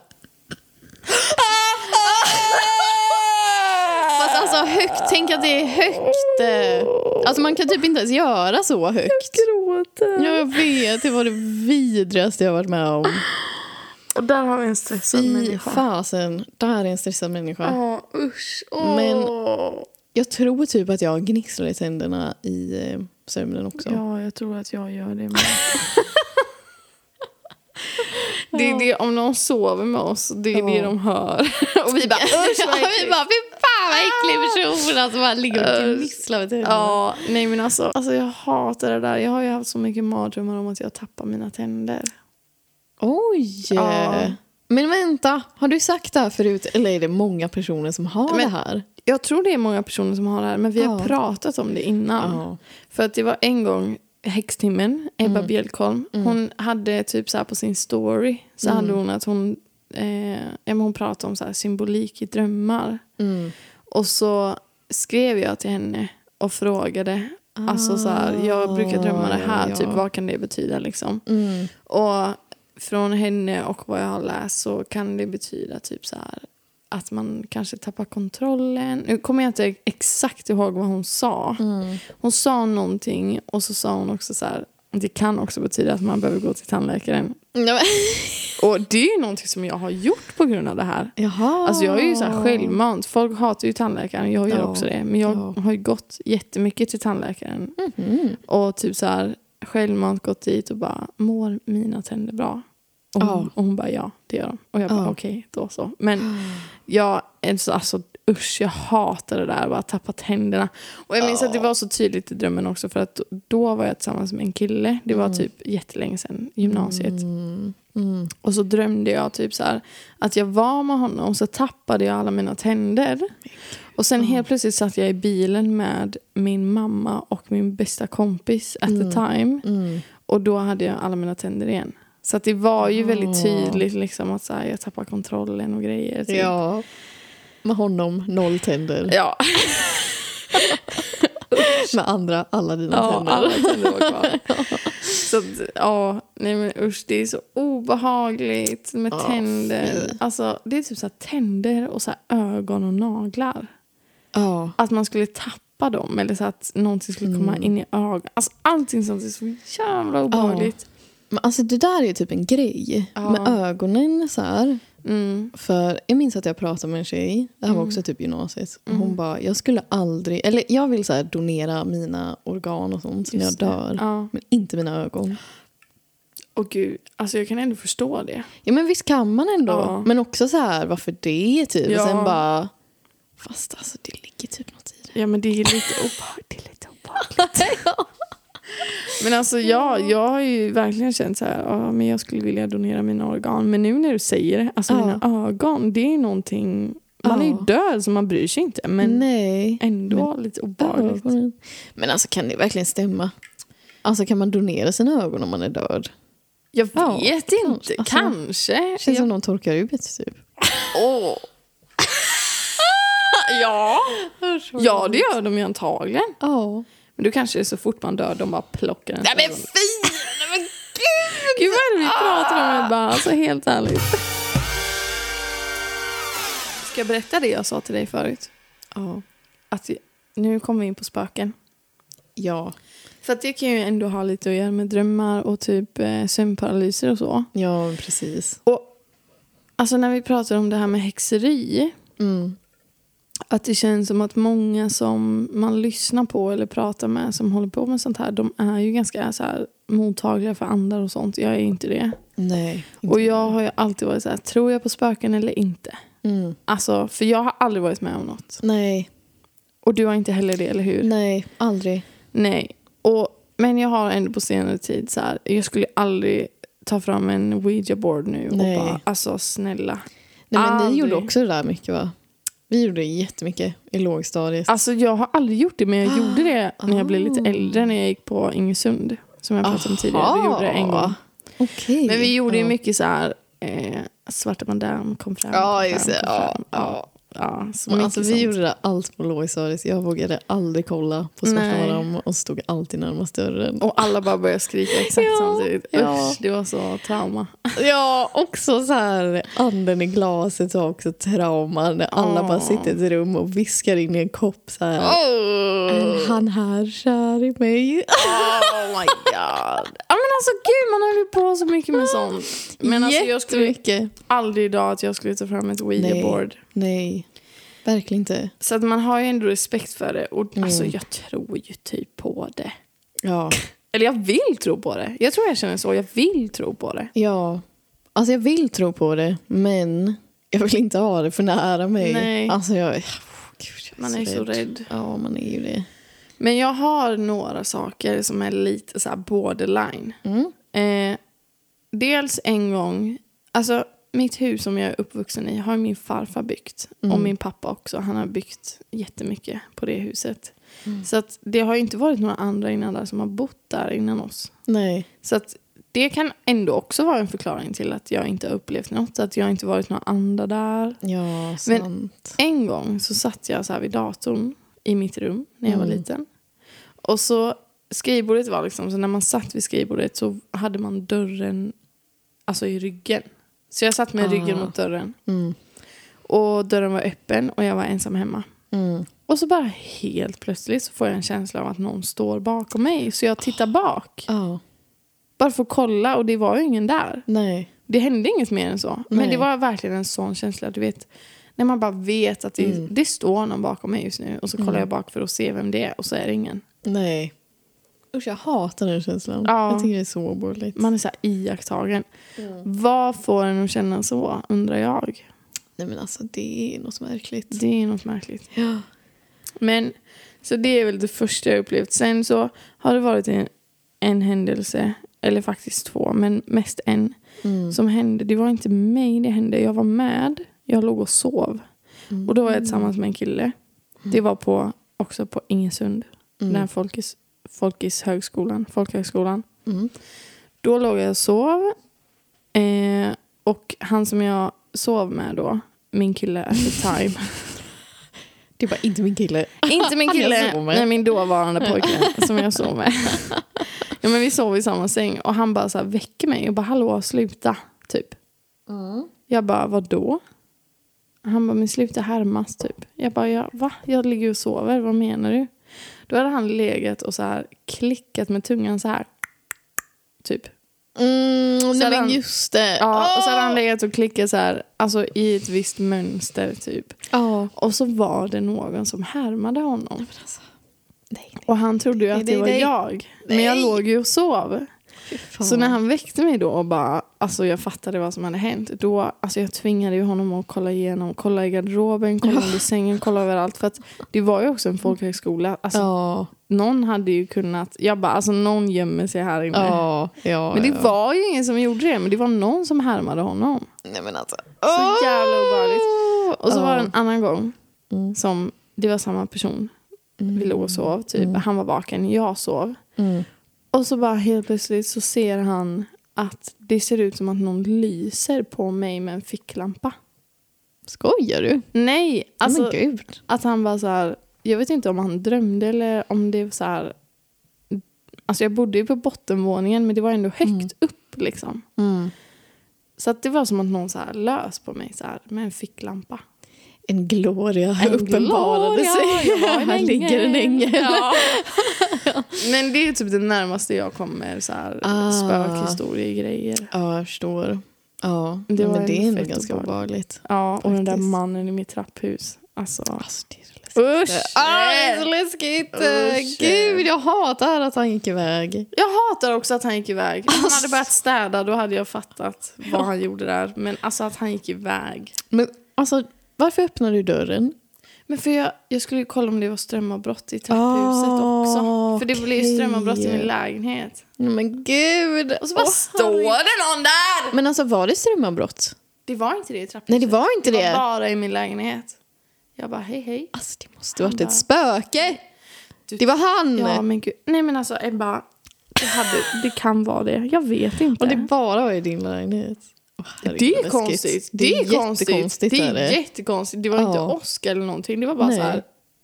Speaker 1: Ah!
Speaker 2: fast alltså högt. Tänk att det är högt. eh. Alltså man kan typ inte ens göra så högt.
Speaker 1: Gråter.
Speaker 2: Jag vet, det var det vidrigaste jag varit med om.
Speaker 1: Och där har vi en stressad
Speaker 2: Fy
Speaker 1: människa.
Speaker 2: fasen, det här är en stressad människa.
Speaker 1: Ja, usch. Åh.
Speaker 2: Men- Jag tror typ att jag gnisslar i tänderna i eh, sömnen också.
Speaker 1: Ja, jag tror att jag gör det med. Det är det, om någon sover med oss, det är det
Speaker 2: Ja.
Speaker 1: de hör. Och vi bara usch vad
Speaker 2: Ja, vi
Speaker 1: äckligt." Ah.
Speaker 2: bara, fy fan vad äcklig person! Alltså bara ligger och gnisslar med tänderna.
Speaker 1: Ja, nej men alltså, alltså jag hatar det där. Jag har ju haft så mycket mardrömmar om att jag tappar mina tänder.
Speaker 2: Oj!
Speaker 1: Ja.
Speaker 2: Men vänta, har du sagt det här förut? Eller är det många personer som har
Speaker 1: Men-
Speaker 2: det här?
Speaker 1: Jag tror det är många personer som har det här, men vi har
Speaker 2: Ja.
Speaker 1: pratat om det innan. För att det var en gång, häxtimmen, Ebba Bjelkholm, hon hade typ så här på sin story, så hade hon att hon, eh, ja, men hon pratade om så här symbolik i drömmar.
Speaker 2: Mm.
Speaker 1: Och så skrev jag till henne och frågade, alltså så här, jag brukar drömma det här,
Speaker 2: Ja.
Speaker 1: typ vad kan det betyda liksom?
Speaker 2: Mm.
Speaker 1: Och från henne och vad jag har läst så kan det betyda typ så här att man kanske tappar kontrollen. Nu kommer jag inte exakt ihåg vad hon sa.
Speaker 2: Mm.
Speaker 1: Hon sa någonting och så sa hon också så här det kan också betyda att man behöver gå till tandläkaren.
Speaker 2: Nej, men-
Speaker 1: Och det är ju någonting som jag har gjort på grund av det här.
Speaker 2: Jaha.
Speaker 1: Alltså jag är ju så här självmant. Folk hatar ju tandläkaren, jag gör
Speaker 2: Ja.
Speaker 1: också det. Men jag
Speaker 2: Ja.
Speaker 1: har ju gått jättemycket till tandläkaren.
Speaker 2: Mhm.
Speaker 1: Och typ så här självmant gått dit och bara mår mina tänder bra? Och hon,
Speaker 2: Ja.
Speaker 1: och hon bara ja, det gör de. Och jag bara
Speaker 2: Ja.
Speaker 1: okej, då så. Men jag, alltså, alltså usch jag hatar det där, bara tappa tänderna. Och jag minns att det var så tydligt i drömmen också för att då var jag tillsammans med en kille. Det var typ jättelänge sedan, gymnasiet.
Speaker 2: Mm. Mm.
Speaker 1: Och så drömde jag typ så här att jag var med honom så tappade jag alla mina tänder. Och sen helt plötsligt satt jag i bilen med min mamma och min bästa kompis at the time.
Speaker 2: Mm.
Speaker 1: Och då hade jag alla mina tänder igen. Så att det var ju väldigt tydligt liksom att så här, jag tappar kontrollen och grejer. typ.
Speaker 2: Ja. Med honom, noll tänder.
Speaker 1: Ja,
Speaker 2: Med andra, alla dina
Speaker 1: ja
Speaker 2: tänder.
Speaker 1: alla tänder var kvar. Så att, ja, nej men usch det är så obehagligt med
Speaker 2: Ja,
Speaker 1: tänder. Alltså det är typ så här tänder och så här ögon och naglar.
Speaker 2: Ja.
Speaker 1: Att man skulle tappa dem eller så att någonting skulle komma
Speaker 2: Mm.
Speaker 1: in i ögonen. Alltså, allting sånt är så jävla obehagligt.
Speaker 2: Men alltså det där är ju typ en grej
Speaker 1: Ja.
Speaker 2: med ögonen så här.
Speaker 1: Mm.
Speaker 2: För jag minns att jag pratade med en tjej, det här var också typ gymnasiet. Och
Speaker 1: Mm.
Speaker 2: Hon bara, jag skulle aldrig, eller jag vill så här donera mina organ och sånt när jag
Speaker 1: Just det.
Speaker 2: dör.
Speaker 1: Ja.
Speaker 2: Men inte mina ögon.
Speaker 1: Och gud, alltså jag kan ändå förstå det.
Speaker 2: Ja men visst kan man ändå.
Speaker 1: Ja.
Speaker 2: Men också så här, varför det typ?
Speaker 1: Ja.
Speaker 2: Och sen bara, fast alltså det ligger typ något i det.
Speaker 1: Ja men det är lite obehagligt. Det är lite obehagligt. men alltså jag, jag har ju verkligen känt så här, ja, men jag skulle vilja donera mina organ. Men nu när du säger det, alltså
Speaker 2: Ja.
Speaker 1: mina ögon, det är någonting, man är ju
Speaker 2: Ja.
Speaker 1: död så man bryr sig inte. Men
Speaker 2: Nej.
Speaker 1: ändå lite obehagligt.
Speaker 2: Ögonen. Men alltså kan det verkligen stämma? Alltså kan man donera sina ögon om man är död?
Speaker 1: Jag
Speaker 2: Ja,
Speaker 1: vet inte,
Speaker 2: alltså,
Speaker 1: kanske.
Speaker 2: Känns
Speaker 1: jag,
Speaker 2: som någon torkar ut typ.
Speaker 1: åh. ja. ja, det gör de ju antagligen.
Speaker 2: Ja.
Speaker 1: Men då kanske det är så fort man dör de bara plockar en.
Speaker 2: Nej men fy! Nej, men gud!
Speaker 1: Gud vad är det vi pratar om? Jag bara, alltså helt ärligt. Ska jag berätta det jag sa till dig förut?
Speaker 2: Ja.
Speaker 1: Att jag- nu kommer vi in på spöken.
Speaker 2: Ja.
Speaker 1: För att det kan ju ändå ha lite att göra med drömmar och typ eh, sömnparalyser och så.
Speaker 2: Ja, men precis.
Speaker 1: Och alltså när vi pratar om det här med häxeri.
Speaker 2: Mm.
Speaker 1: Att det känns som att många som man lyssnar på eller pratar med som håller på med sånt här. De är ju ganska så här mottagliga för andar och sånt. Jag är ju inte det.
Speaker 2: Nej.
Speaker 1: Och jag har ju alltid varit så här, tror jag på spöken eller inte?
Speaker 2: Mm.
Speaker 1: Alltså, för jag har aldrig varit med om något.
Speaker 2: Nej.
Speaker 1: Och du har inte heller det, eller hur?
Speaker 2: Nej, aldrig.
Speaker 1: Nej. Och, men jag har ändå på senare tid så här, jag skulle aldrig ta fram en ouija-board nu
Speaker 2: Nej.
Speaker 1: och bara, alltså snälla.
Speaker 2: Nej, men ni
Speaker 1: Aldrig.
Speaker 2: gjorde också det där mycket va? Vi gjorde det jättemycket i lågstadiet.
Speaker 1: Alltså jag har aldrig gjort det, men jag gjorde det när jag blev
Speaker 2: Ah.
Speaker 1: lite äldre, när jag gick på Ingesund. Som jag pratade om tidigare. Vi gjorde det en gång.
Speaker 2: Okej.
Speaker 1: Men vi gjorde ju
Speaker 2: Ja.
Speaker 1: mycket så här, eh, Svarta Madame kom fram.
Speaker 2: Ja,
Speaker 1: kom
Speaker 2: just
Speaker 1: fram,
Speaker 2: det.
Speaker 1: kom
Speaker 2: Ja,
Speaker 1: fram. ja. ja så
Speaker 2: Men
Speaker 1: mycket
Speaker 2: alltså, vi
Speaker 1: sånt.
Speaker 2: gjorde det allt på lågstadiet. Jag vågade aldrig kolla på Svarta
Speaker 1: Nej.
Speaker 2: Madame och stod alltid närmast dörren.
Speaker 1: Och alla bara började skrika exakt
Speaker 2: Ja,
Speaker 1: samtidigt.
Speaker 2: ja.
Speaker 1: Usch, det var så trauma.
Speaker 2: Ja, också så här anden i glaset var också trauma när alla
Speaker 1: Åh.
Speaker 2: bara sitter i ett rum och viskar in i en kopp så här. Är han här kär i mig?
Speaker 1: Oh my god. Ja, men alltså gud, man höll ju på så mycket med sånt. Men alltså, jag skulle
Speaker 2: Jättemycket.
Speaker 1: aldrig idag att jag skulle ta fram ett Ouija-board.
Speaker 2: Nej, verkligen inte.
Speaker 1: Så att man har ju ändå respekt för det. Och alltså jag tror ju typ på det.
Speaker 2: Ja.
Speaker 1: Eller jag vill tro på det. Jag tror jag känner så. Jag vill tro på det.
Speaker 2: ja. Alltså jag vill tro på det, men jag vill inte ha det för nära mig.
Speaker 1: Nej.
Speaker 2: Alltså jag, Åh, gud, jag
Speaker 1: Man är så rädd.
Speaker 2: Ja, man är ju det.
Speaker 1: Men jag har några saker som är lite så här borderline.
Speaker 2: Mm.
Speaker 1: Eh, dels en gång, alltså mitt hus som jag är uppvuxen i har min farfar byggt. Och min pappa också. Han har byggt jättemycket på det huset. Så att det har ju inte varit några andra innan där som har bott där innan oss.
Speaker 2: Nej.
Speaker 1: Så att det kan ändå också vara en förklaring till att jag inte har upplevt något. Att jag inte varit några andra där.
Speaker 2: Ja, sant.
Speaker 1: En gång så satt jag så här vid datorn i mitt rum när jag var
Speaker 2: Mm.
Speaker 1: liten. Och så skrivbordet var liksom, så när man satt vid skrivbordet så hade man dörren alltså i ryggen. Så jag satt med
Speaker 2: Ah.
Speaker 1: ryggen mot dörren.
Speaker 2: Mm.
Speaker 1: Och dörren var öppen och jag var ensam hemma.
Speaker 2: Mm.
Speaker 1: Och så bara helt plötsligt så får jag en känsla av att någon står bakom mig. Så jag tittar bak.
Speaker 2: Ja,
Speaker 1: Bara för att kolla och det var ju ingen där.
Speaker 2: nej.
Speaker 1: Det hände inget mer än så. Men
Speaker 2: Nej.
Speaker 1: det var verkligen en sån känsla, du vet. När man bara vet att det,
Speaker 2: Mm.
Speaker 1: det står någon bakom mig just nu och så kollar jag bak för att se vem det är och så är det ingen.
Speaker 2: Nej. Usch, jag hatar den känslan.
Speaker 1: Ja.
Speaker 2: Jag tycker det är så obehagligt.
Speaker 1: Man är så här iakttagen.
Speaker 2: Mm.
Speaker 1: Vad får en att känna så, undrar jag.
Speaker 2: Nej men alltså det är något märkligt.
Speaker 1: Det är något märkligt.
Speaker 2: Ja.
Speaker 1: Men, så det är väl det första jag upplevt. Sen så har det varit en, en händelse, eller faktiskt två, men mest en,
Speaker 2: Mm.
Speaker 1: som hände. Det var inte mig det hände, jag var med. Jag låg och sov.
Speaker 2: Mm.
Speaker 1: Och då var jag tillsammans med en kille. Det var på, också på Ingesund.
Speaker 2: Mm.
Speaker 1: Den här folkis, folkishögskolan, folkhögskolan.
Speaker 2: Mm.
Speaker 1: Då låg jag och sov. Eh, och han som jag sov med då, min kille at the time.
Speaker 2: Det är bara inte min kille.
Speaker 1: Inte min
Speaker 2: Han jag
Speaker 1: kille,
Speaker 2: sov med.
Speaker 1: nej min dåvarande pojkvän som jag sov med. ja, men vi sov i samma säng och han bara så här
Speaker 2: Mm.
Speaker 1: väcker mig och bara hallå sluta, typ. Jag bara vadå? Han Han bara, men sluta härmas typ. Jag bara, ja, va? Jag ligger och sover, vad menar du? Då hade han legat och så här klickat med tungan så här. Typ.
Speaker 2: Mm, nej
Speaker 1: hade
Speaker 2: men
Speaker 1: han-
Speaker 2: just det.
Speaker 1: Ja, och så hade
Speaker 2: Åh!
Speaker 1: han legat och klickat så här, alltså i ett visst mönster typ.
Speaker 2: Ja.
Speaker 1: Och så var det någon som härmade honom.
Speaker 2: Nej, nej.
Speaker 1: Och han trodde ju att
Speaker 2: Nej,
Speaker 1: det
Speaker 2: nej,
Speaker 1: var
Speaker 2: nej.
Speaker 1: jag. Men jag
Speaker 2: Nej.
Speaker 1: låg ju och sov. Så
Speaker 2: Fan.
Speaker 1: när han väckte mig då och bara, alltså jag fattade vad som hade hänt. Då, alltså jag tvingade ju honom att kolla igenom, kolla i garderoben, kolla under sängen, kolla överallt. För att det var ju också en folkhögskola. Alltså
Speaker 2: Ja,
Speaker 1: någon hade ju kunnat, jag bara, alltså någon gömmer sig här inne.
Speaker 2: ja, ja.
Speaker 1: Men det
Speaker 2: ja.
Speaker 1: var ju ingen som gjorde det, men det var någon som härmade honom.
Speaker 2: Nej men alltså.
Speaker 1: Så jävla obehagligt. Och så
Speaker 2: Ja.
Speaker 1: var det en annan gång
Speaker 2: Mm.
Speaker 1: som det var samma person.
Speaker 2: Mm.
Speaker 1: Vi låg och sov, typ. Han var vaken, jag sov.
Speaker 2: Mm.
Speaker 1: Och så bara helt plötsligt så ser han att det ser ut som att någon lyser på mig med en ficklampa.
Speaker 2: Skojar du?
Speaker 1: Nej, alltså
Speaker 2: men gud.
Speaker 1: att han bara så här, jag vet inte om han drömde eller om det var så här, alltså jag bodde ju på bottenvåningen men det var ändå högt
Speaker 2: Mm.
Speaker 1: upp liksom. Så att det var som att någon så här lös på mig så här med en ficklampa.
Speaker 2: En gloria en uppenbarade
Speaker 1: Gloria,
Speaker 2: sig.
Speaker 1: jag var en
Speaker 2: Här
Speaker 1: ängel.
Speaker 2: ligger en ängel.
Speaker 1: Ja. Men det är typ det närmaste jag kommer så här
Speaker 2: Ah.
Speaker 1: spökhistoriegrejer.
Speaker 2: Ja, jag förstår. Ja,
Speaker 1: Det var
Speaker 2: men det
Speaker 1: en
Speaker 2: är ändå
Speaker 1: fett
Speaker 2: ganska
Speaker 1: obehagligt.
Speaker 2: obehagligt.
Speaker 1: Ja, och den där
Speaker 2: Faktiskt.
Speaker 1: mannen i mitt trapphus. Alltså,
Speaker 2: Alltså, det är så läskigt.
Speaker 1: usch!
Speaker 2: Ah, det
Speaker 1: äh,
Speaker 2: är så läskigt!
Speaker 1: Usch.
Speaker 2: Eh, Gud, jag hatar att han gick iväg.
Speaker 1: Jag hatar också att han gick iväg. Om han hade börjat städa då hade jag fattat vad han gjorde där. Men alltså att han gick iväg.
Speaker 2: Men alltså, varför öppnar du dörren?
Speaker 1: Men för jag, jag skulle ju kolla om det var strömavbrott i trapphuset
Speaker 2: Ah,
Speaker 1: också. För det blev ju
Speaker 2: okej.
Speaker 1: strömavbrott i min lägenhet.
Speaker 2: Nej, Men gud! Och så
Speaker 1: Vad
Speaker 2: bara
Speaker 1: står
Speaker 2: står
Speaker 1: det någon där?
Speaker 2: Men alltså var det strömavbrott?
Speaker 1: Det var inte det i trapphuset.
Speaker 2: Nej, det var inte
Speaker 1: Det var
Speaker 2: det.
Speaker 1: bara i min lägenhet. Jag bara hej hej.
Speaker 2: Alltså, det måste varit
Speaker 1: Han bara-
Speaker 2: ett spöke.
Speaker 1: Du-
Speaker 2: Det var han!
Speaker 1: Ja men gud. Nej men alltså Ebba. Det, hade, det kan vara det. Jag vet inte.
Speaker 2: Och det bara var i din lägenhet. Åh, herregud,
Speaker 1: Det är
Speaker 2: läskigt.
Speaker 1: konstigt. Det är konstigt.
Speaker 2: jättekonstigt.
Speaker 1: Det
Speaker 2: är det.
Speaker 1: är jättekonstigt. Det var inte
Speaker 2: Ja.
Speaker 1: åska eller någonting. Det var bara
Speaker 2: Nej.
Speaker 1: så här.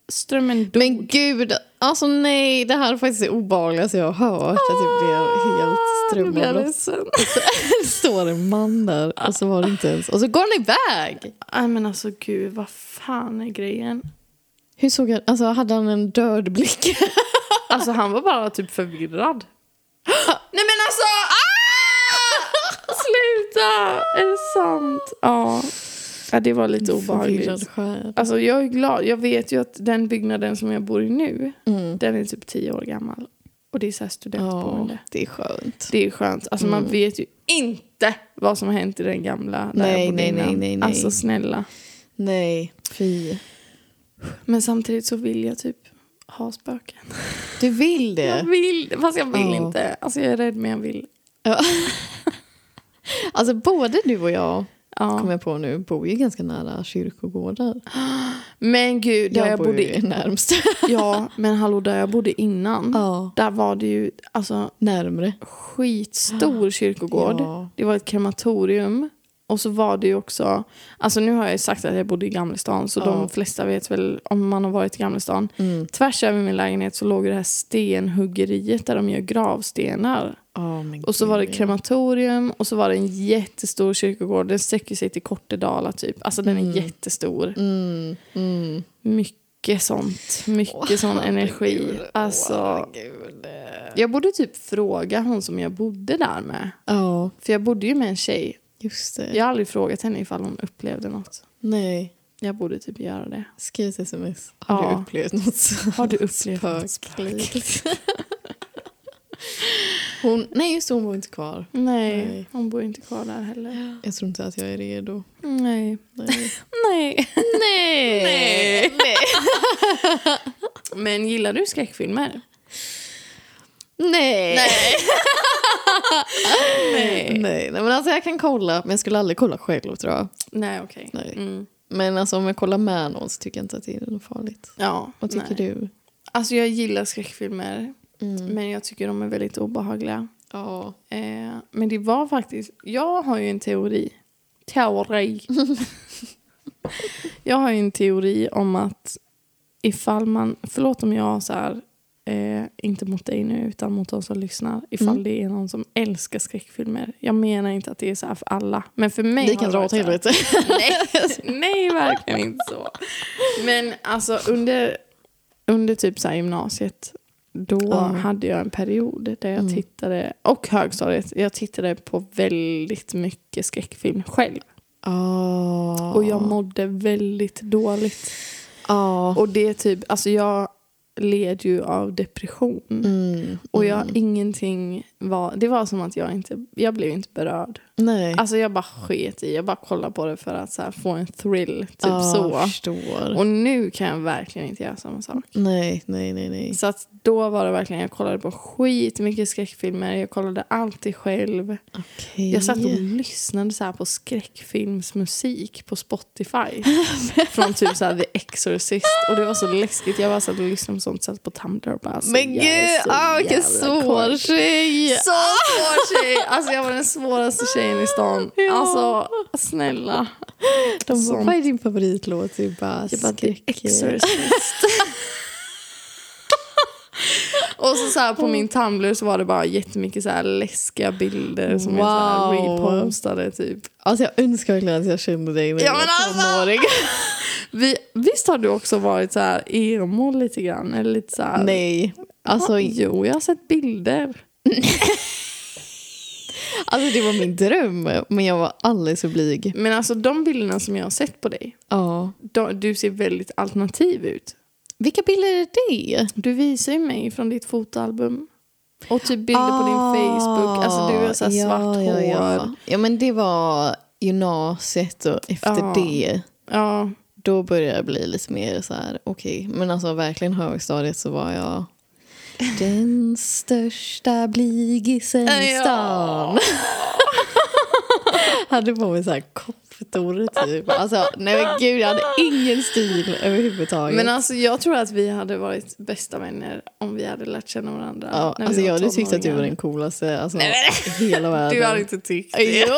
Speaker 1: Strömmen dog.
Speaker 2: Men gud, alltså nej, det här är faktiskt det obehagligaste jag har hört. Att det blev helt
Speaker 1: Ah, Nu blir jag
Speaker 2: strömavbrott.
Speaker 1: ledsen.
Speaker 2: Det står en man där och så var det inte ens... Och så går han iväg!
Speaker 1: Nej men alltså gud, vad fan är grejen?
Speaker 2: Hur såg han... Alltså hade han en död blick?
Speaker 1: Alltså han var bara typ förvirrad. Nej men alltså! Ah! Sluta! Är det sant? Ja. ja, det var lite obehagligt.
Speaker 2: Förvirrad själ.
Speaker 1: Alltså jag är glad. Jag vet ju att den byggnaden som jag bor i nu,
Speaker 2: Mm.
Speaker 1: den är typ tio år gammal. Och det är så här
Speaker 2: Ja,
Speaker 1: studentboende.
Speaker 2: det är skönt. Mm.
Speaker 1: Det är skönt. Alltså man vet ju inte vad som har hänt i den gamla där
Speaker 2: Nej,
Speaker 1: jag bodde
Speaker 2: nej, nej,
Speaker 1: innan.
Speaker 2: nej, nej.
Speaker 1: Alltså snälla.
Speaker 2: Nej, fy.
Speaker 1: Men samtidigt så vill jag typ ha spöken.
Speaker 2: Du vill
Speaker 1: Jag
Speaker 2: det?
Speaker 1: vill, fast jag vill
Speaker 2: Ja.
Speaker 1: inte. Alltså jag är rädd men jag vill.
Speaker 2: Ja. Alltså både du och jag, kommer
Speaker 1: Ja.
Speaker 2: jag på nu, bor ju ganska nära kyrkogårdar.
Speaker 1: Men gud, där jag,
Speaker 2: bor
Speaker 1: bodde...
Speaker 2: ju närmst.
Speaker 1: ja, men hallå, där jag bodde innan.
Speaker 2: Ja.
Speaker 1: Där var det ju alltså
Speaker 2: Närmre.
Speaker 1: skitstor kyrkogård.
Speaker 2: Ja.
Speaker 1: Det var ett krematorium. Och så var det ju också, alltså nu har jag ju sagt att jag bodde i Gamlestan så
Speaker 2: Ja.
Speaker 1: de flesta vet väl om man har varit i Gamlestan.
Speaker 2: Mm.
Speaker 1: Tvärs över min lägenhet så låg det här stenhuggeriet där de gör gravstenar.
Speaker 2: Ja, men
Speaker 1: Och så var det
Speaker 2: gud.
Speaker 1: krematorium och så var det en jättestor kyrkogård. Den sträcker sig till Kortedala typ. Alltså den är
Speaker 2: Mm.
Speaker 1: jättestor.
Speaker 2: Mm, mm.
Speaker 1: Mycket sånt. Mycket sån energi.
Speaker 2: Herregud,
Speaker 1: Alltså,
Speaker 2: herregud.
Speaker 1: jag borde typ fråga hon som jag bodde där med.
Speaker 2: Ja,
Speaker 1: För jag bodde ju med en tjej.
Speaker 2: just det.
Speaker 1: Jag har aldrig frågat henne ifall hon upplevde något.
Speaker 2: Nej,
Speaker 1: Jag borde typ göra det.
Speaker 2: skriv ett sms. Har
Speaker 1: Ja.
Speaker 2: du upplevt något
Speaker 1: Har du upplevt något
Speaker 2: spöklikt? hon, nej, just det, hon var inte kvar.
Speaker 1: Nej,
Speaker 2: Nej.
Speaker 1: hon bor inte kvar där heller.
Speaker 2: Jag tror inte att jag är redo.
Speaker 1: Nej.
Speaker 2: Nej.
Speaker 1: Nej.
Speaker 2: nej.
Speaker 1: Nej. Men gillar du skräckfilmer?
Speaker 2: Nej. Nej.
Speaker 1: Eh. Nej.
Speaker 2: Nej, men alltså jag kan kolla, men jag skulle aldrig kolla själv tror jag.
Speaker 1: Nej, okej.
Speaker 2: Nej.
Speaker 1: Mm.
Speaker 2: Men alltså om jag kollar med någon så tycker jag inte att det är något farligt.
Speaker 1: Ja.
Speaker 2: Vad tycker
Speaker 1: nej.
Speaker 2: du?
Speaker 1: Alltså jag gillar skräckfilmer.
Speaker 2: Mm.
Speaker 1: Men jag tycker de är väldigt obehagliga.
Speaker 2: Ja.
Speaker 1: Eh, men det var faktiskt... Jag har ju en teori. Teori. jag har ju en teori om att ifall man... Förlåt om jag så här eh, inte mot dig nu utan mot de som lyssnar, ifall
Speaker 2: Mm.
Speaker 1: det är någon som älskar skräckfilmer. Jag menar inte att det är så här för alla, men för mig
Speaker 2: Vi
Speaker 1: har
Speaker 2: kan
Speaker 1: det
Speaker 2: dra
Speaker 1: varit
Speaker 2: åt
Speaker 1: så här.
Speaker 2: helvete.
Speaker 1: Nej, nej, verkligen inte så. Men alltså under, under typ så här gymnasiet, då
Speaker 2: Ja.
Speaker 1: hade jag en period där jag
Speaker 2: Mm.
Speaker 1: tittade, och högstadiet, jag tittade på väldigt mycket skräckfilm själv.
Speaker 2: Oh.
Speaker 1: Och jag mådde väldigt dåligt.
Speaker 2: oh.
Speaker 1: Och det är typ, alltså jag led ju av depression.
Speaker 2: mm.
Speaker 1: Och jag ingenting var, det var som att jag inte, jag blev inte berörd.
Speaker 2: Nej.
Speaker 1: Alltså jag bara sket i, jag bara kollade på det för att så här, få en thrill, typ
Speaker 2: Ja,
Speaker 1: så.
Speaker 2: Ah, Jag förstår.
Speaker 1: Och nu kan jag verkligen inte göra samma sak.
Speaker 2: Nej, nej, nej, nej.
Speaker 1: Så att då var det verkligen, jag kollade på skitmycket skräckfilmer, jag kollade alltid själv.
Speaker 2: Okej.
Speaker 1: Jag satt och lyssnade så här på skräckfilmsmusik på Spotify. från typ så här The Exorcist. Och det var så läskigt, jag bara satt och lyssnade på sånt, satt på Tumblr och bara alltså,
Speaker 2: Men
Speaker 1: jag är
Speaker 2: gud,
Speaker 1: så
Speaker 2: ah, vilken
Speaker 1: jävla
Speaker 2: svår
Speaker 1: korkad.
Speaker 2: tjej!
Speaker 1: Så svår tjej! Alltså jag var den svåraste tjejen i stan.
Speaker 2: Ja.
Speaker 1: Alltså snälla.
Speaker 2: De bara,
Speaker 1: Sånt.
Speaker 2: vad är din favoritlåt? Du bara,
Speaker 1: Jag bara, The
Speaker 2: skräck.
Speaker 1: Exorcist. Och så, så här, på min Tumblr så var det bara jättemycket så här läskiga bilder som jag så här
Speaker 2: Wow.
Speaker 1: repostade typ.
Speaker 2: Alltså jag önskar verkligen att jag kände dig när
Speaker 1: Ja,
Speaker 2: jag var
Speaker 1: men alltså!
Speaker 2: tonåring.
Speaker 1: Vi, visst har du också varit så här emo lite grann? Eller lite så här,
Speaker 2: Nej. Alltså,
Speaker 1: Ja, jo, jag har sett bilder.
Speaker 2: alltså det var min dröm, men jag var alldeles för blyg.
Speaker 1: Men alltså de bilderna som jag har sett på dig,
Speaker 2: Ja.
Speaker 1: de, du ser väldigt alternativ ut.
Speaker 2: Vilka bilder är det?
Speaker 1: Du visar ju mig från ditt fotoalbum. Och typ bilder på din Facebook. Alltså du har så här
Speaker 2: Ah, ja,
Speaker 1: svart
Speaker 2: ja,
Speaker 1: hår.
Speaker 2: Ja. ja, men det var gymnasiet och efter
Speaker 1: Ja.
Speaker 2: det
Speaker 1: Ja,
Speaker 2: då började jag bli lite mer så här, okej. Men alltså verkligen högstadiet så var jag den största blygisen i
Speaker 1: Ja.
Speaker 2: stan. hade på mig så här koftor typ. Alltså nej men gud jag hade ingen stil överhuvudtaget.
Speaker 1: Men alltså jag tror att vi hade varit bästa vänner om vi hade lärt känna varandra.
Speaker 2: ja,
Speaker 1: när vi
Speaker 2: alltså
Speaker 1: var
Speaker 2: jag hade tyckt att du var
Speaker 1: tonåringar.
Speaker 2: den coolaste alltså, i hela världen.
Speaker 1: Du hade inte tyckt det.
Speaker 2: Jo,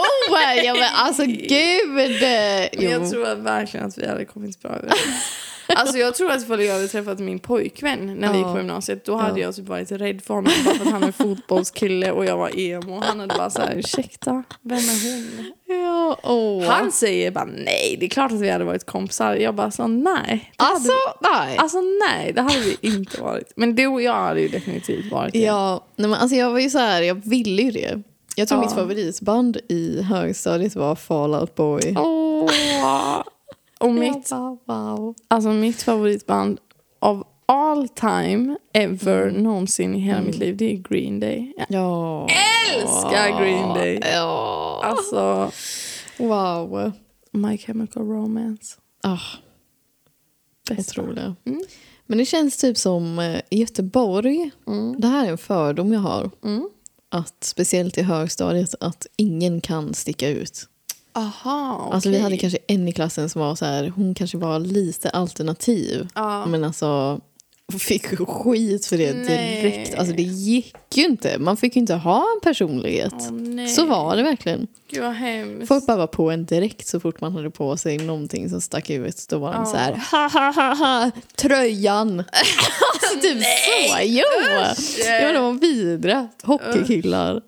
Speaker 2: ja, men alltså gud!
Speaker 1: Men
Speaker 2: Jo.
Speaker 1: jag tror att verkligen att vi hade kommit bra överens. Alltså jag tror att ifall jag hade träffat min pojkvän när vi gick
Speaker 2: Ja.
Speaker 1: på gymnasiet då hade
Speaker 2: Ja.
Speaker 1: jag typ varit rädd för honom bara för att han är fotbollskille och jag var emo. Han hade bara såhär ursäkta, vem är hon?
Speaker 2: Ja, åh.
Speaker 1: Han säger bara nej, det är klart att vi hade varit kompisar. Jag bara så nej.
Speaker 2: alltså, nej.
Speaker 1: Alltså nej, det hade vi inte varit. Men du och jag hade ju definitivt varit det.
Speaker 2: Ja, nej, men alltså jag var ju så här, jag ville ju det. Jag tror
Speaker 1: Ja.
Speaker 2: mitt favoritband i högstadiet var Fallout Boy.
Speaker 1: Åh. Och mitt,
Speaker 2: Mitt. wow.
Speaker 1: alltså mitt favoritband av all time ever någonsin i hela mitt liv det är Green Day. Mm. Jag
Speaker 2: Ja.
Speaker 1: älskar Green Day!
Speaker 2: Ja.
Speaker 1: Alltså,
Speaker 2: Wow.
Speaker 1: My Chemical Romance.
Speaker 2: Ah,
Speaker 1: Bästa.
Speaker 2: otroliga.
Speaker 1: Mm.
Speaker 2: Men det känns typ som eh, i Göteborg,
Speaker 1: Mm.
Speaker 2: det här är en fördom jag har,
Speaker 1: Mm.
Speaker 2: att speciellt i högstadiet, att ingen kan sticka ut.
Speaker 1: Aha, okej.
Speaker 2: Alltså vi hade kanske en i klassen som var så här, hon kanske var lite alternativ.
Speaker 1: Ja.
Speaker 2: Men alltså, hon fick ju skit för det
Speaker 1: Nej.
Speaker 2: direkt. Alltså det gick ju inte. Man fick ju inte ha en personlighet.
Speaker 1: Åh, nej.
Speaker 2: så var det verkligen.
Speaker 1: Gud vad hemskt.
Speaker 2: Folk bara var på en direkt så fort man hade på sig någonting som stack ut. Då var de
Speaker 1: Ja.
Speaker 2: så här, ha ha ha ha, tröjan. alltså typ så, jo. Ja, de var vidra. Hockeykillar.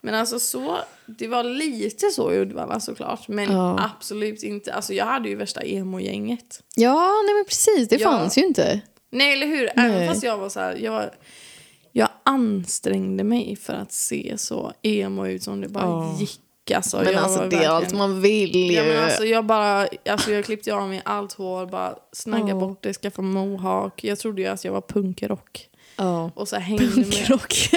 Speaker 1: Men alltså så, det var lite så i Uddevalla såklart. Men
Speaker 2: Ja.
Speaker 1: absolut inte. Alltså jag hade ju värsta emo-gänget.
Speaker 2: Ja, nej men precis. Det
Speaker 1: Ja.
Speaker 2: fanns ju inte.
Speaker 1: Nej, eller hur?
Speaker 2: Nej.
Speaker 1: Även fast jag var så här, jag, var, jag ansträngde mig för att se så emo ut som det bara
Speaker 2: Ja.
Speaker 1: gick. Alltså,
Speaker 2: Men
Speaker 1: jag
Speaker 2: alltså det
Speaker 1: var
Speaker 2: är
Speaker 1: verkligen-
Speaker 2: allt man vill ju.
Speaker 1: Ja, men alltså, jag, bara, alltså, jag klippte av mig allt hår, bara snagga
Speaker 2: Ja.
Speaker 1: bort det, skaffa mohawk. Jag trodde ju att jag var punkrock.
Speaker 2: Ja.
Speaker 1: Och så hängde med punkrock.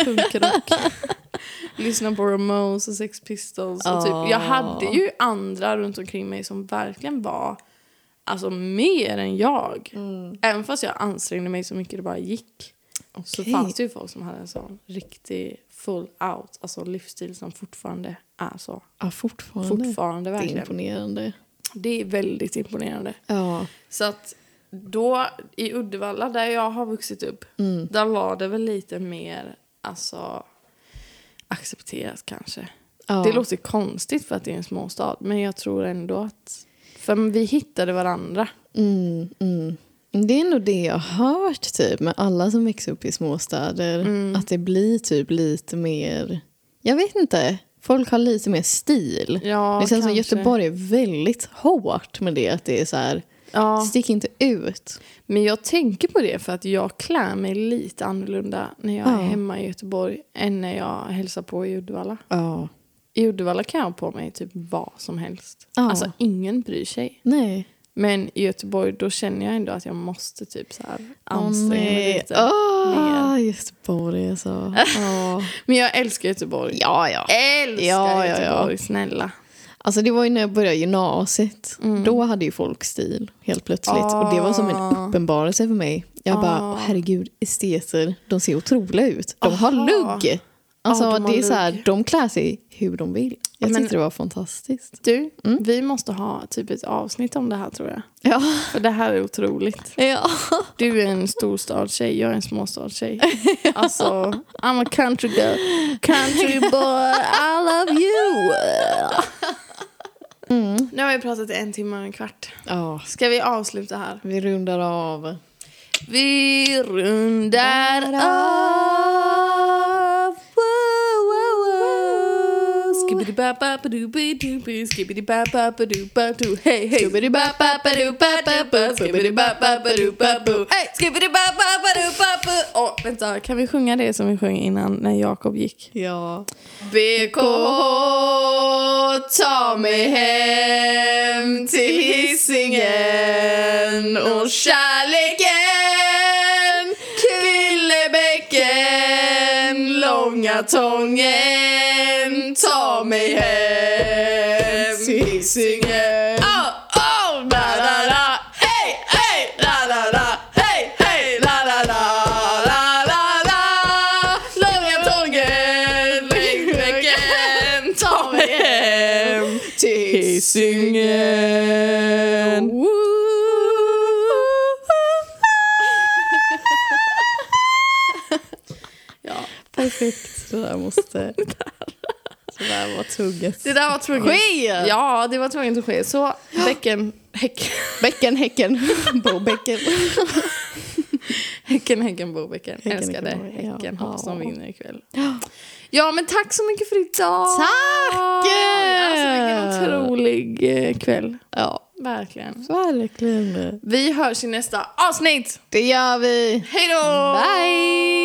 Speaker 1: Lyssna på Ramones och Sex Pistols. Och typ. Jag
Speaker 2: Ja.
Speaker 1: hade ju andra runt omkring mig som verkligen var alltså, mer än jag.
Speaker 2: Mm.
Speaker 1: Även fast jag ansträngde mig så mycket det bara gick. Så
Speaker 2: Okej.
Speaker 1: fanns det ju folk som hade en sån riktig full out alltså livsstil som fortfarande är så.
Speaker 2: Ja, fortfarande.
Speaker 1: Fortfarande
Speaker 2: Det är
Speaker 1: verkligen.
Speaker 2: imponerande.
Speaker 1: Det är väldigt imponerande.
Speaker 2: Ja.
Speaker 1: Så att då i Uddevalla där jag har vuxit upp,
Speaker 2: Mm.
Speaker 1: där var det väl lite mer alltså accepterat kanske.
Speaker 2: Ja.
Speaker 1: Det låter konstigt för att det är en småstad, men jag tror ändå att för vi hittade varandra.
Speaker 2: Mm, mm. Det är nog det jag har hört typ med alla som växer upp i småstäder. Att det blir typ lite mer, jag vet inte, folk har lite mer stil.
Speaker 1: Ja,
Speaker 2: det känns som
Speaker 1: kanske.
Speaker 2: Göteborg är väldigt hårt med det. Att det är så här,
Speaker 1: Ja.
Speaker 2: stick inte ut.
Speaker 1: Men jag tänker på det för att jag klär mig lite annorlunda när jag
Speaker 2: Ja.
Speaker 1: är hemma i Göteborg än när jag hälsar på i Uddevalla.
Speaker 2: Ja.
Speaker 1: I Uddevalla kan jag ha på mig typ vad som helst.
Speaker 2: Ja.
Speaker 1: Alltså ingen bryr sig.
Speaker 2: Nej.
Speaker 1: Men i Göteborg då känner jag ändå att jag måste typ så här anstränga mig
Speaker 2: nej.
Speaker 1: lite.
Speaker 2: Åh, Göteborg alltså. Ja.
Speaker 1: Men jag älskar Göteborg.
Speaker 2: ja, ja.
Speaker 1: Älskar
Speaker 2: Ja, ja, ja.
Speaker 1: Göteborg, snälla.
Speaker 2: Alltså det var ju när jag började gymnasiet.
Speaker 1: Mm.
Speaker 2: Då hade ju folk stil helt plötsligt. Och det var som en
Speaker 1: Ah.
Speaker 2: uppenbarelse för mig. Jag bara,
Speaker 1: Ah.
Speaker 2: "Åh, herregud, esteter, de ser otroliga ut. De har
Speaker 1: Aha.
Speaker 2: lugg. Alltså
Speaker 1: Ja, de har
Speaker 2: det är så här,
Speaker 1: lugg.
Speaker 2: de klär sig hur de vill. Jag
Speaker 1: Men-
Speaker 2: tyckte det var fantastiskt.
Speaker 1: Du, vi måste ha typ ett avsnitt om det här tror jag.
Speaker 2: Ja.
Speaker 1: För det här är otroligt.
Speaker 2: ja.
Speaker 1: Du är en storstadstjej, jag är en småstadstjej. Alltså, I'm a country girl. Country boy, I love you. Nu har vi pratat i en timme och en kvart.
Speaker 2: ja.
Speaker 1: Ska vi avsluta här?
Speaker 2: Vi rundar av.
Speaker 1: Vi rundar av. Wow, wow, wow. Skibidi-ba-ba-ba-du-bi-du-bi, skibidi-ba-ba-ba-du-ba-du. Hey, hey. Skibidi-ba-ba-ba-du-ba-ba-ba, skibidi-ba-ba-ba-du-ba-bu. Hey, skibidi-ba-ba-ba-du-ba-bu. Åh, vänta. Kan vi sjunga det som vi sjöng innan när Jakob gick?
Speaker 2: Ja.
Speaker 1: BKH, ta mig hem till Hisingen och kärleken Kvillebäcken, Långa Tången Ta mig hem till Hisingen Oh, oh, la la la Hey, hey, la la la Hey, hey, la la la La la la Långa Tången, Längdbäcken Ta mig hem till Hisingen Ja,
Speaker 2: Perfekt. Det där måste... Det där var tugget.
Speaker 1: det där var tvunget.
Speaker 2: Ske!
Speaker 1: Ja, det var tvunget att ske. Så, bäcken, häck,
Speaker 2: Bäcken, häcken, bobäcken.
Speaker 1: häcken, häcken, bobäcken.
Speaker 2: Häcken,
Speaker 1: Älskar dig.
Speaker 2: häcken, Bobäcken.
Speaker 1: Häcken,
Speaker 2: Ja.
Speaker 1: hoppas de
Speaker 2: Ja.
Speaker 1: vinner ikväll. Ja, men tack så mycket för idag!
Speaker 2: Tack!
Speaker 1: Alltså, vilken otrolig eh, kväll.
Speaker 2: Ja,
Speaker 1: Verkligen.
Speaker 2: verkligen.
Speaker 1: Vi hörs i nästa avsnitt!
Speaker 2: Det gör vi.
Speaker 1: Hej då!
Speaker 2: Bye!